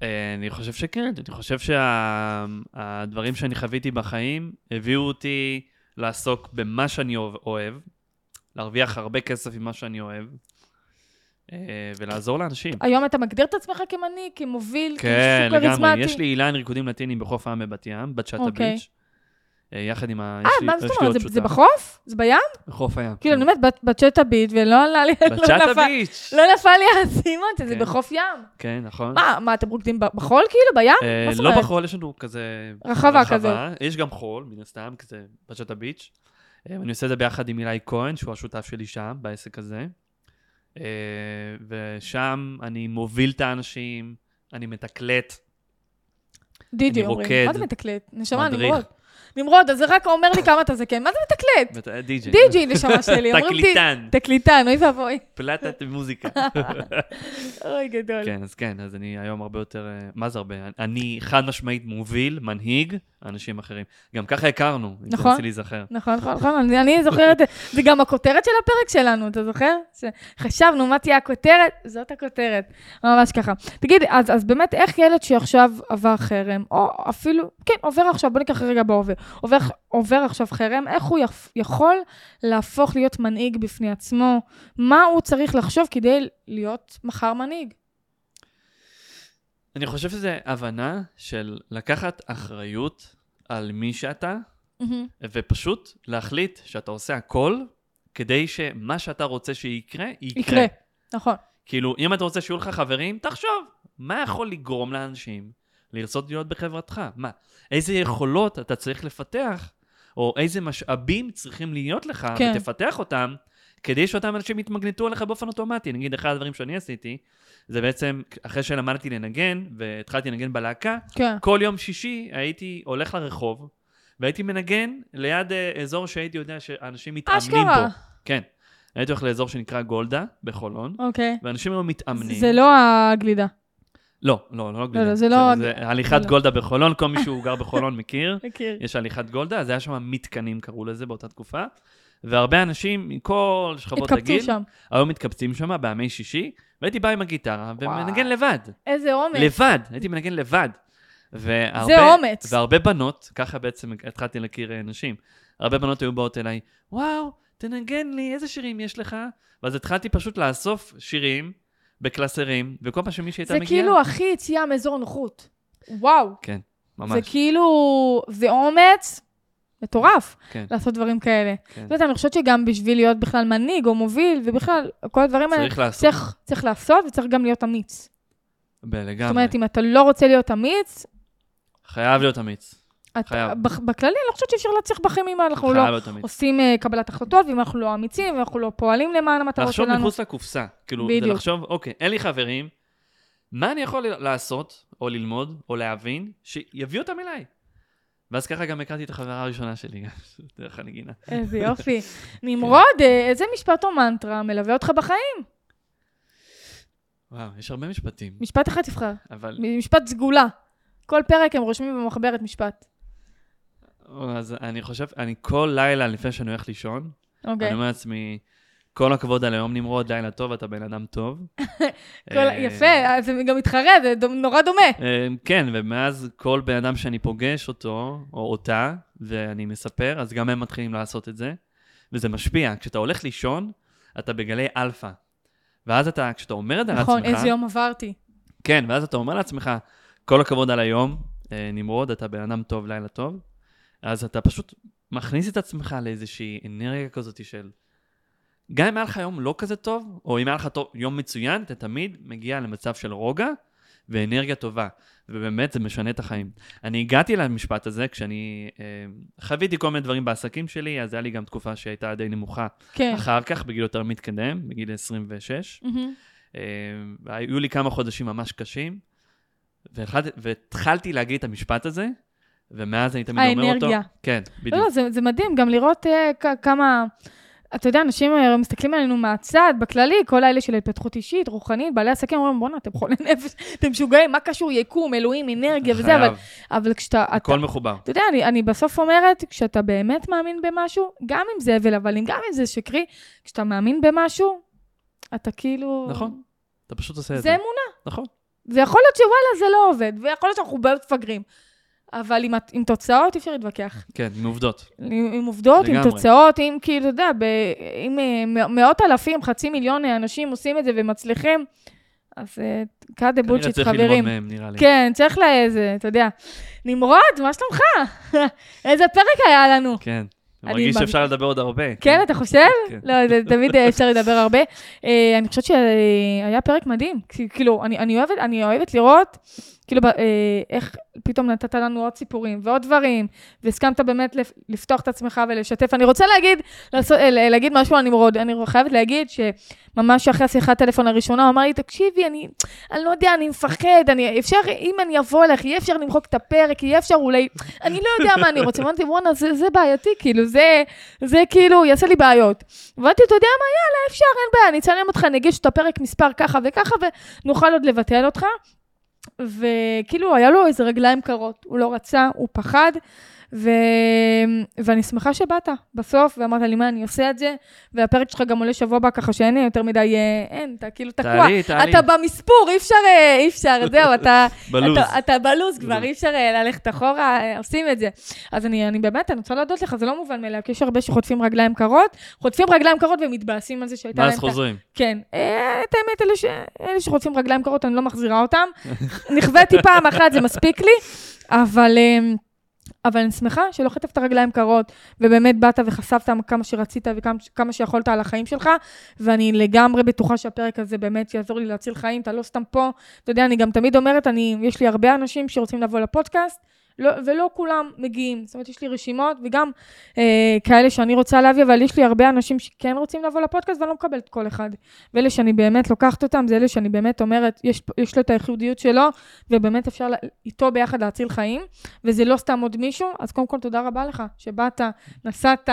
Speaker 3: אה, אני חושב שכן, אני חושב שהדברים שאני חוויתי בחיים הביאו אותי לעסוק במה שאני אוה- אוהב, להרוויח הרבה כסף ממה שאני אוהב, אה, ולעזור לאנשים.
Speaker 2: היום אתה מגדיר את עצמך כמנהיג, כמוביל,
Speaker 3: כן,
Speaker 2: כמישהו
Speaker 3: לגמרי.
Speaker 2: כריזמטי?
Speaker 3: יש לי אילן ריקודים לטינים בחוף הים בבת ים, בצ'אטה
Speaker 2: אוקיי.
Speaker 3: ביץ'. אה, יחד עם ה...
Speaker 2: אה,
Speaker 3: יש לי-
Speaker 2: מה זאת
Speaker 3: יש לי
Speaker 2: אומרת?
Speaker 3: עוד
Speaker 2: זה- זה
Speaker 3: שותף.
Speaker 2: בחוף? זה בים?
Speaker 3: בחוף הים.
Speaker 2: כאילו, אני
Speaker 3: כן.
Speaker 2: אומרת, בת- בצ'אטה ביט, ולא עלה לי, לא
Speaker 3: בצ'אטה
Speaker 2: נפל-
Speaker 3: ביץ'.
Speaker 2: לא נפל לי האסימון, שזה
Speaker 3: כן.
Speaker 2: בחוף ים.
Speaker 3: כן, נכון.
Speaker 2: מה, מה, אתם רוקדים ב- בחול כאילו? בים?
Speaker 3: אה,
Speaker 2: מה זאת
Speaker 3: לא
Speaker 2: אומרת?
Speaker 3: בחול, יש לנו כזה...
Speaker 2: רחבה כזאת.
Speaker 3: יש גם חול, מן הסתם, כזה פרשת הביץ'. אה, אני עושה את זה ביחד עם אילי כהן, שהוא השותף שלי שם, בעסק הזה. אה, ושם אני מוביל את האנשים, אני מתקלט.
Speaker 2: דידי
Speaker 3: אני
Speaker 2: אומרים.
Speaker 3: רוקד.
Speaker 2: מה זה מתקלט? נשמה,
Speaker 3: מדריך.
Speaker 2: נמרוד. נמרוד, אז זה רק אומר לי כמה אתה זקן. מה זה מתקלט?
Speaker 3: ואתה- אה, די.ג'יי.
Speaker 2: דיג'י, נשמה שלי. אומרים די-
Speaker 3: תקליטן,
Speaker 2: תקליטן, אוי ואבוי.
Speaker 3: פלטת מוזיקה.
Speaker 2: אוי, גדול.
Speaker 3: כן, אז כן, אז אני היום הרבה יותר, אה, מה זה הרבה? אני חד משמעית מוביל, מנהיג, אנשים אחרים. גם ככה הכרנו, אם
Speaker 2: נכון.
Speaker 3: תנסי להיזכר.
Speaker 2: נכון, נכון, נכון, אני, אני זוכרת, זה גם הכותרת של הפרק שלנו, אתה זוכר? חשבנו מה תהיה הכותרת, זאת הכותרת, ממש ככה. תגיד, אז, אז באמת, איך ילד שעכשיו עבר חרם, או אפילו, כן, עובר עכשיו, בוא ניקח רגע בהווה, עובר, עובר עכשיו חרם, איך הוא יפ, יכול להפוך להיות מנהיג בפני עצמו? מה הוא צריך לחשוב כדי להיות מחר מנהיג?
Speaker 3: אני חושב שזה הבנה של לקחת אחריות על מי שאתה, ופשוט להחליט שאתה עושה הכל כדי שמה שאתה רוצה שיקרה, יקרה.
Speaker 2: יקרה,
Speaker 3: יקרה.
Speaker 2: נכון.
Speaker 3: כאילו, אם אתה רוצה שיהיו לך חברים, תחשוב, מה יכול לגרום לאנשים לרצות להיות בחברתך? מה, איזה יכולות אתה צריך לפתח, או איזה משאבים צריכים להיות לך,
Speaker 2: כן.
Speaker 3: כן. ותפתח אותם, כדי שאותם אנשים יתמגנטו עליך באופן אוטומטי. נגיד, אחד הדברים שאני עשיתי, זה בעצם, אחרי שלמדתי לנגן, והתחלתי לנגן בלהקה,
Speaker 2: כן,
Speaker 3: כל יום שישי הייתי הולך לרחוב, והייתי מנגן ליד אה, אזור שהייתי יודע שאנשים מתאמנים
Speaker 2: אשכרה.
Speaker 3: בו. כן. הייתי הולך לאזור שנקרא גולדה, בחולון,
Speaker 2: אוקיי.
Speaker 3: ואנשים היו מתאמנים.
Speaker 2: זה לא הגלידה.
Speaker 3: לא, לא, לא גלידה.
Speaker 2: לא, זה לא-
Speaker 3: זה הליכת
Speaker 2: לא.
Speaker 3: גולדה בחולון, כל מי שהוא גר בחולון מכיר.
Speaker 2: מכיר.
Speaker 3: יש הליכת גולדה, אז היה שם מתקנים, קראו לזה באותה תקופה. והרבה אנשים מכל שכבות
Speaker 2: התקבצו
Speaker 3: הגיל,
Speaker 2: שם.
Speaker 3: היו מתקבצים שם בימי שישי, והייתי בא עם הגיטרה ומנגן לבד.
Speaker 2: איזה עומק.
Speaker 3: לבד, הייתי מנגן לבד. והרבה,
Speaker 2: זה אומץ.
Speaker 3: והרבה בנות, ככה בעצם התחלתי להכיר אה, נשים, הרבה בנות היו באות אליי, וואו, תנגן לי, איזה שירים יש לך? ואז התחלתי פשוט לאסוף שירים בקלסרים, וכל פעם שמישהי הייתה
Speaker 2: זה
Speaker 3: מגיעה...
Speaker 2: כאילו הכי יציאה מאזור נוחות. וואו.
Speaker 3: ממש,
Speaker 2: זה כאילו, זה אומץ מטורף
Speaker 3: כן.
Speaker 2: לעשות דברים כאלה.
Speaker 3: כן.
Speaker 2: זאת אומרת, אני חושבת שגם בשביל להיות בכלל מנהיג או מוביל, ובכלל, כל הדברים האלה,
Speaker 3: צריך לעשות.
Speaker 2: צריך- צריך לעשות וצריך גם להיות אמיץ.
Speaker 3: ב-
Speaker 2: זאת
Speaker 3: לגמרי.
Speaker 2: אומרת, אם אתה לא רוצה להיות אמיץ,
Speaker 3: חייב להיות אמיץ.
Speaker 2: אתה-
Speaker 3: חייב.
Speaker 2: בכ- בכללי, אני לא חושבת שאפשר להצליח בחיים אם אנחנו
Speaker 3: חייב
Speaker 2: לא
Speaker 3: להיות אמיץ.
Speaker 2: עושים אה, קבלת החלטות, ואם אנחנו לא אמיצים, ואם אנחנו לא פועלים למען המטרות
Speaker 3: לחשוב
Speaker 2: שלנו.
Speaker 3: מחוץ לקופסה. כאילו, זה
Speaker 2: בדיוק.
Speaker 3: לחשוב, אוקיי, אין לי חברים, מה אני יכול לעשות, או ללמוד, או להבין, שיביאו אותם אליי? ואז ככה גם הכרתי את החברה הראשונה שלי, גם, דרך הנגינה.
Speaker 2: איזה יופי.
Speaker 3: כן.
Speaker 2: נמרוד, אה, איזה משפט או מנטרה מלווה אותך בחיים?
Speaker 3: וואו, יש הרבה משפטים,
Speaker 2: משפט אחד תבחר.
Speaker 3: אבל...
Speaker 2: משפט סגולה. כל פרק הם רושמים במחברת משפט.
Speaker 3: אז אני חושב, אני כל לילה לפני שאני הולך לישון, אני
Speaker 2: אוקיי.
Speaker 3: אומר לעצמי, כל הכבוד על היום נמרוד, לילה טוב, אתה בן אדם טוב.
Speaker 2: כל-
Speaker 3: אה,
Speaker 2: יפה, אז זה גם מתחרה, זה דו- נורא דומה.
Speaker 3: אה, כן, ומאז כל בן אדם שאני פוגש אותו, או אותה, ואני מספר, אז גם הם מתחילים לעשות את זה, וזה משפיע. כשאתה הולך לישון, אתה בגלי אלפא. ואז אתה, כשאתה אומר את זה לעצמך...
Speaker 2: נכון, איזה יום עברתי.
Speaker 3: כן, ואז אתה אומר לעצמך, כל הכבוד על היום, אה, נמרוד, אתה בן אדם טוב, לילה טוב. אז אתה פשוט מכניס את עצמך לאיזושהי אנרגיה כזאת של... גם אם היה לך יום לא כזה טוב, או אם היה לך טוב, יום מצוין, אתה תמיד מגיע למצב של רוגע ואנרגיה טובה. ובאמת, זה משנה את החיים. אני הגעתי למשפט הזה כשאני אה, חוויתי כל מיני דברים בעסקים שלי, אז היה לי גם תקופה שהייתה די נמוכה.
Speaker 2: כן.
Speaker 3: אחר כך, בגיל יותר מתקדם, בגיל 26,
Speaker 2: מהמם.
Speaker 3: אה, היו לי כמה חודשים ממש קשים, והתחלתי, והתחלתי להגיד את המשפט הזה, ומאז אני תמיד אומר אותו.
Speaker 2: האנרגיה.
Speaker 3: כן,
Speaker 2: לא,
Speaker 3: בדיוק.
Speaker 2: לא, זה- זה מדהים גם לראות אה, כ- כמה... אתה יודע, אנשים אה, מסתכלים עלינו מהצד, בכללי, כל האלה של התפתחות אישית, רוחנית, בעלי עסקים אומרים, בואנה, אתם חולי נפש, אתם משוגעים, מה קשור יקום, אלוהים, אנרגיה וזה, אבל-
Speaker 3: חייב,
Speaker 2: אבל כשאתה... אתה-
Speaker 3: הכל מחובר.
Speaker 2: אתה יודע, אני, אני בסוף אומרת, כשאתה באמת מאמין במשהו, גם אם זה הבל הבלים, גם אם זה שקרי, כשאתה מאמין במשהו, אתה כאילו...
Speaker 3: נכון, אתה פשוט עושה את
Speaker 2: זה
Speaker 3: זה.
Speaker 2: אמונה.
Speaker 3: נכון.
Speaker 2: ויכול להיות שוואלה, זה לא עובד, ויכול להיות שאנחנו באמת מפגרים. אבל עם, הת- עם תוצאות אי אפשר להתווכח.
Speaker 3: כן, מעובדות.
Speaker 2: עם, עם עובדות, עם
Speaker 3: לגמרי.
Speaker 2: תוצאות, עם כאילו, אתה יודע, ב, עם אה, מא- מאות אלפים, חצי מיליון אה, אנשים עושים את זה ומצליחים, אז אה, קאט דה
Speaker 3: כנראה
Speaker 2: בולשיט,
Speaker 3: צריך ללמוד
Speaker 2: חברים.
Speaker 3: מהם, נראה לי.
Speaker 2: כן, צריך לאיזה, אתה יודע. נמרוד, מה שלומך? איזה פרק היה לנו.
Speaker 3: כן. אני
Speaker 2: אני
Speaker 3: מרגיש
Speaker 2: מאמין-
Speaker 3: שאפשר לדבר עוד הרבה.
Speaker 2: כן, אתה חושב?
Speaker 3: כן.
Speaker 2: לא, זה- תמיד אה, אפשר לדבר הרבה. אה, אני חושבת שהיה פרק מדהים. כי- כאילו, אני- אני אוהבת- אני אוהבת לראות, כאילו, ב- אה, איך פתאום נתת לנו עוד סיפורים ועוד דברים, והסכמת באמת לפ- לפתוח את עצמך ולשתף. אני רוצה להגיד, לעשות- אה, להגיד משהו על נמרוד. אני חייבת להגיד ממש אחרי השיחת טלפון הראשונה, הוא אמר לי, תקשיבי, אני, אני לא יודע, אני מפחד, אני, אפשר, אם אני אבוא אליך, יהיה אפשר למחוק את הפרק, יהיה אפשר אולי, אני לא יודע מה אני רוצה. ואמרתי, וואנה, זה, זה בעייתי, כאילו, זה, זה כאילו, יעשה לי בעיות. ואמרתי, אתה יודע מה, יאללה, אפשר, אין בעיה, אני אצלם אותך, נגיש את הפרק מספר ככה וככה, ונוכל עוד לבטל אותך. וכאילו, היה לו איזה רגליים קרות, הוא לא רצה, הוא פחד. ו... ואני שמחה שבאת בסוף, ואמרת לי, מה, אני עושה את זה, והפרק שלך גם עולה שבוע הבא, ככה שאין לי יותר מדי, אה, אין, אתה כאילו תקוע.
Speaker 3: תעלי, תעלי.
Speaker 2: אתה במספור, אי אפשר, אה, אי אפשר, זהו, אתה...
Speaker 3: בלוז.
Speaker 2: אתה, אתה בלוז כבר, אי אפשר אה, ללכת אחורה, אה, עושים את זה. אז אני, אני באמת, אני רוצה להודות לך, זה לא מובן מאליו, כי יש הרבה שחוטפים רגליים קרות, חוטפים רגליים קרות ומתבאסים על זה שהייתה להם...
Speaker 3: ואז
Speaker 2: את ה-
Speaker 3: חוזרים.
Speaker 2: כן. אה, את האמת, אלה, ש... אלה שחוטפים רגליים קרות, אני לא מחזירה אותם. נכוויתי פעם אחת, זה מספיק לי, אבל... אמ, אבל אני שמחה שלא חטפת רגליים קרות, ובאמת באת וחשפת כמה שרצית וכמה כמה שיכולת על החיים שלך, ואני לגמרי בטוחה שהפרק הזה באמת יעזור לי להציל חיים, אתה לא סתם פה. אתה יודע, אני גם תמיד אומרת, אני, יש לי הרבה אנשים שרוצים לבוא לפודקאסט, לא, ולא כולם מגיעים. זאת אומרת, יש לי רשימות, וגם אה, כאלה שאני רוצה להביא, אבל יש לי הרבה אנשים שכן רוצים לבוא לפודקאסט, ואני לא מקבלת כל אחד. ואלה שאני באמת לוקחת אותם, זה אלה שאני באמת אומרת, יש, יש לו את הייחודיות שלו, ובאמת אפשר לה, איתו ביחד להציל חיים, וזה לא סתם עוד מישהו, אז קודם כל תודה רבה לך, שבאת, נסעת,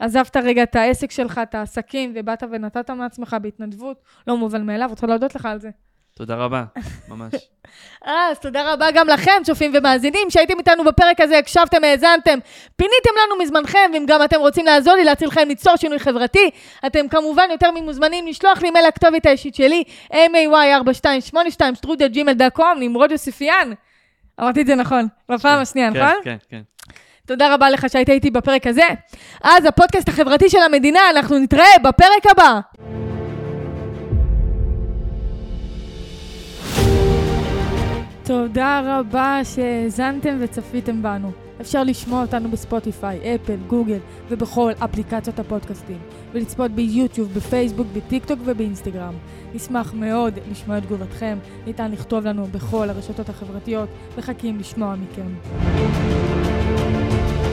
Speaker 2: עזבת רגע את העסק שלך, את העסקים, ובאת ונתת מעצמך בהתנדבות, לא מובן מאליו, רוצה להודות לך על זה.
Speaker 3: תודה רבה, ממש.
Speaker 2: אה, אז תודה רבה גם לכם, צופים ומאזינים, שהייתם איתנו בפרק הזה, הקשבתם, האזנתם, פיניתם לנו מזמנכם, ואם גם אתם רוצים לעזור לי להציל חיים, ליצור שינוי חברתי, אתם כמובן יותר ממוזמנים לשלוח לי מייל לכתובת האישית שלי, may4282 שטרודלג'ימל.com, נמרוד יוסיפיאן. אמרתי את זה נכון, בפעם השנייה,
Speaker 3: כן,
Speaker 2: נכון?
Speaker 3: כן, כן.
Speaker 2: תודה רבה לך שהיית איתי בפרק הזה. אז הפודקאסט החברתי של המדינה, אנחנו נתראה בפרק הבא. תודה רבה שהאזנתם וצפיתם בנו. אפשר לשמוע אותנו בספוטיפיי, אפל, גוגל ובכל אפליקציות הפודקאסטים, ולצפות ביוטיוב, בפייסבוק, בטיקטוק ובאינסטגרם. נשמח מאוד לשמוע את תגובתכם, ניתן לכתוב לנו בכל הרשתות החברתיות, מחכים לשמוע מכם.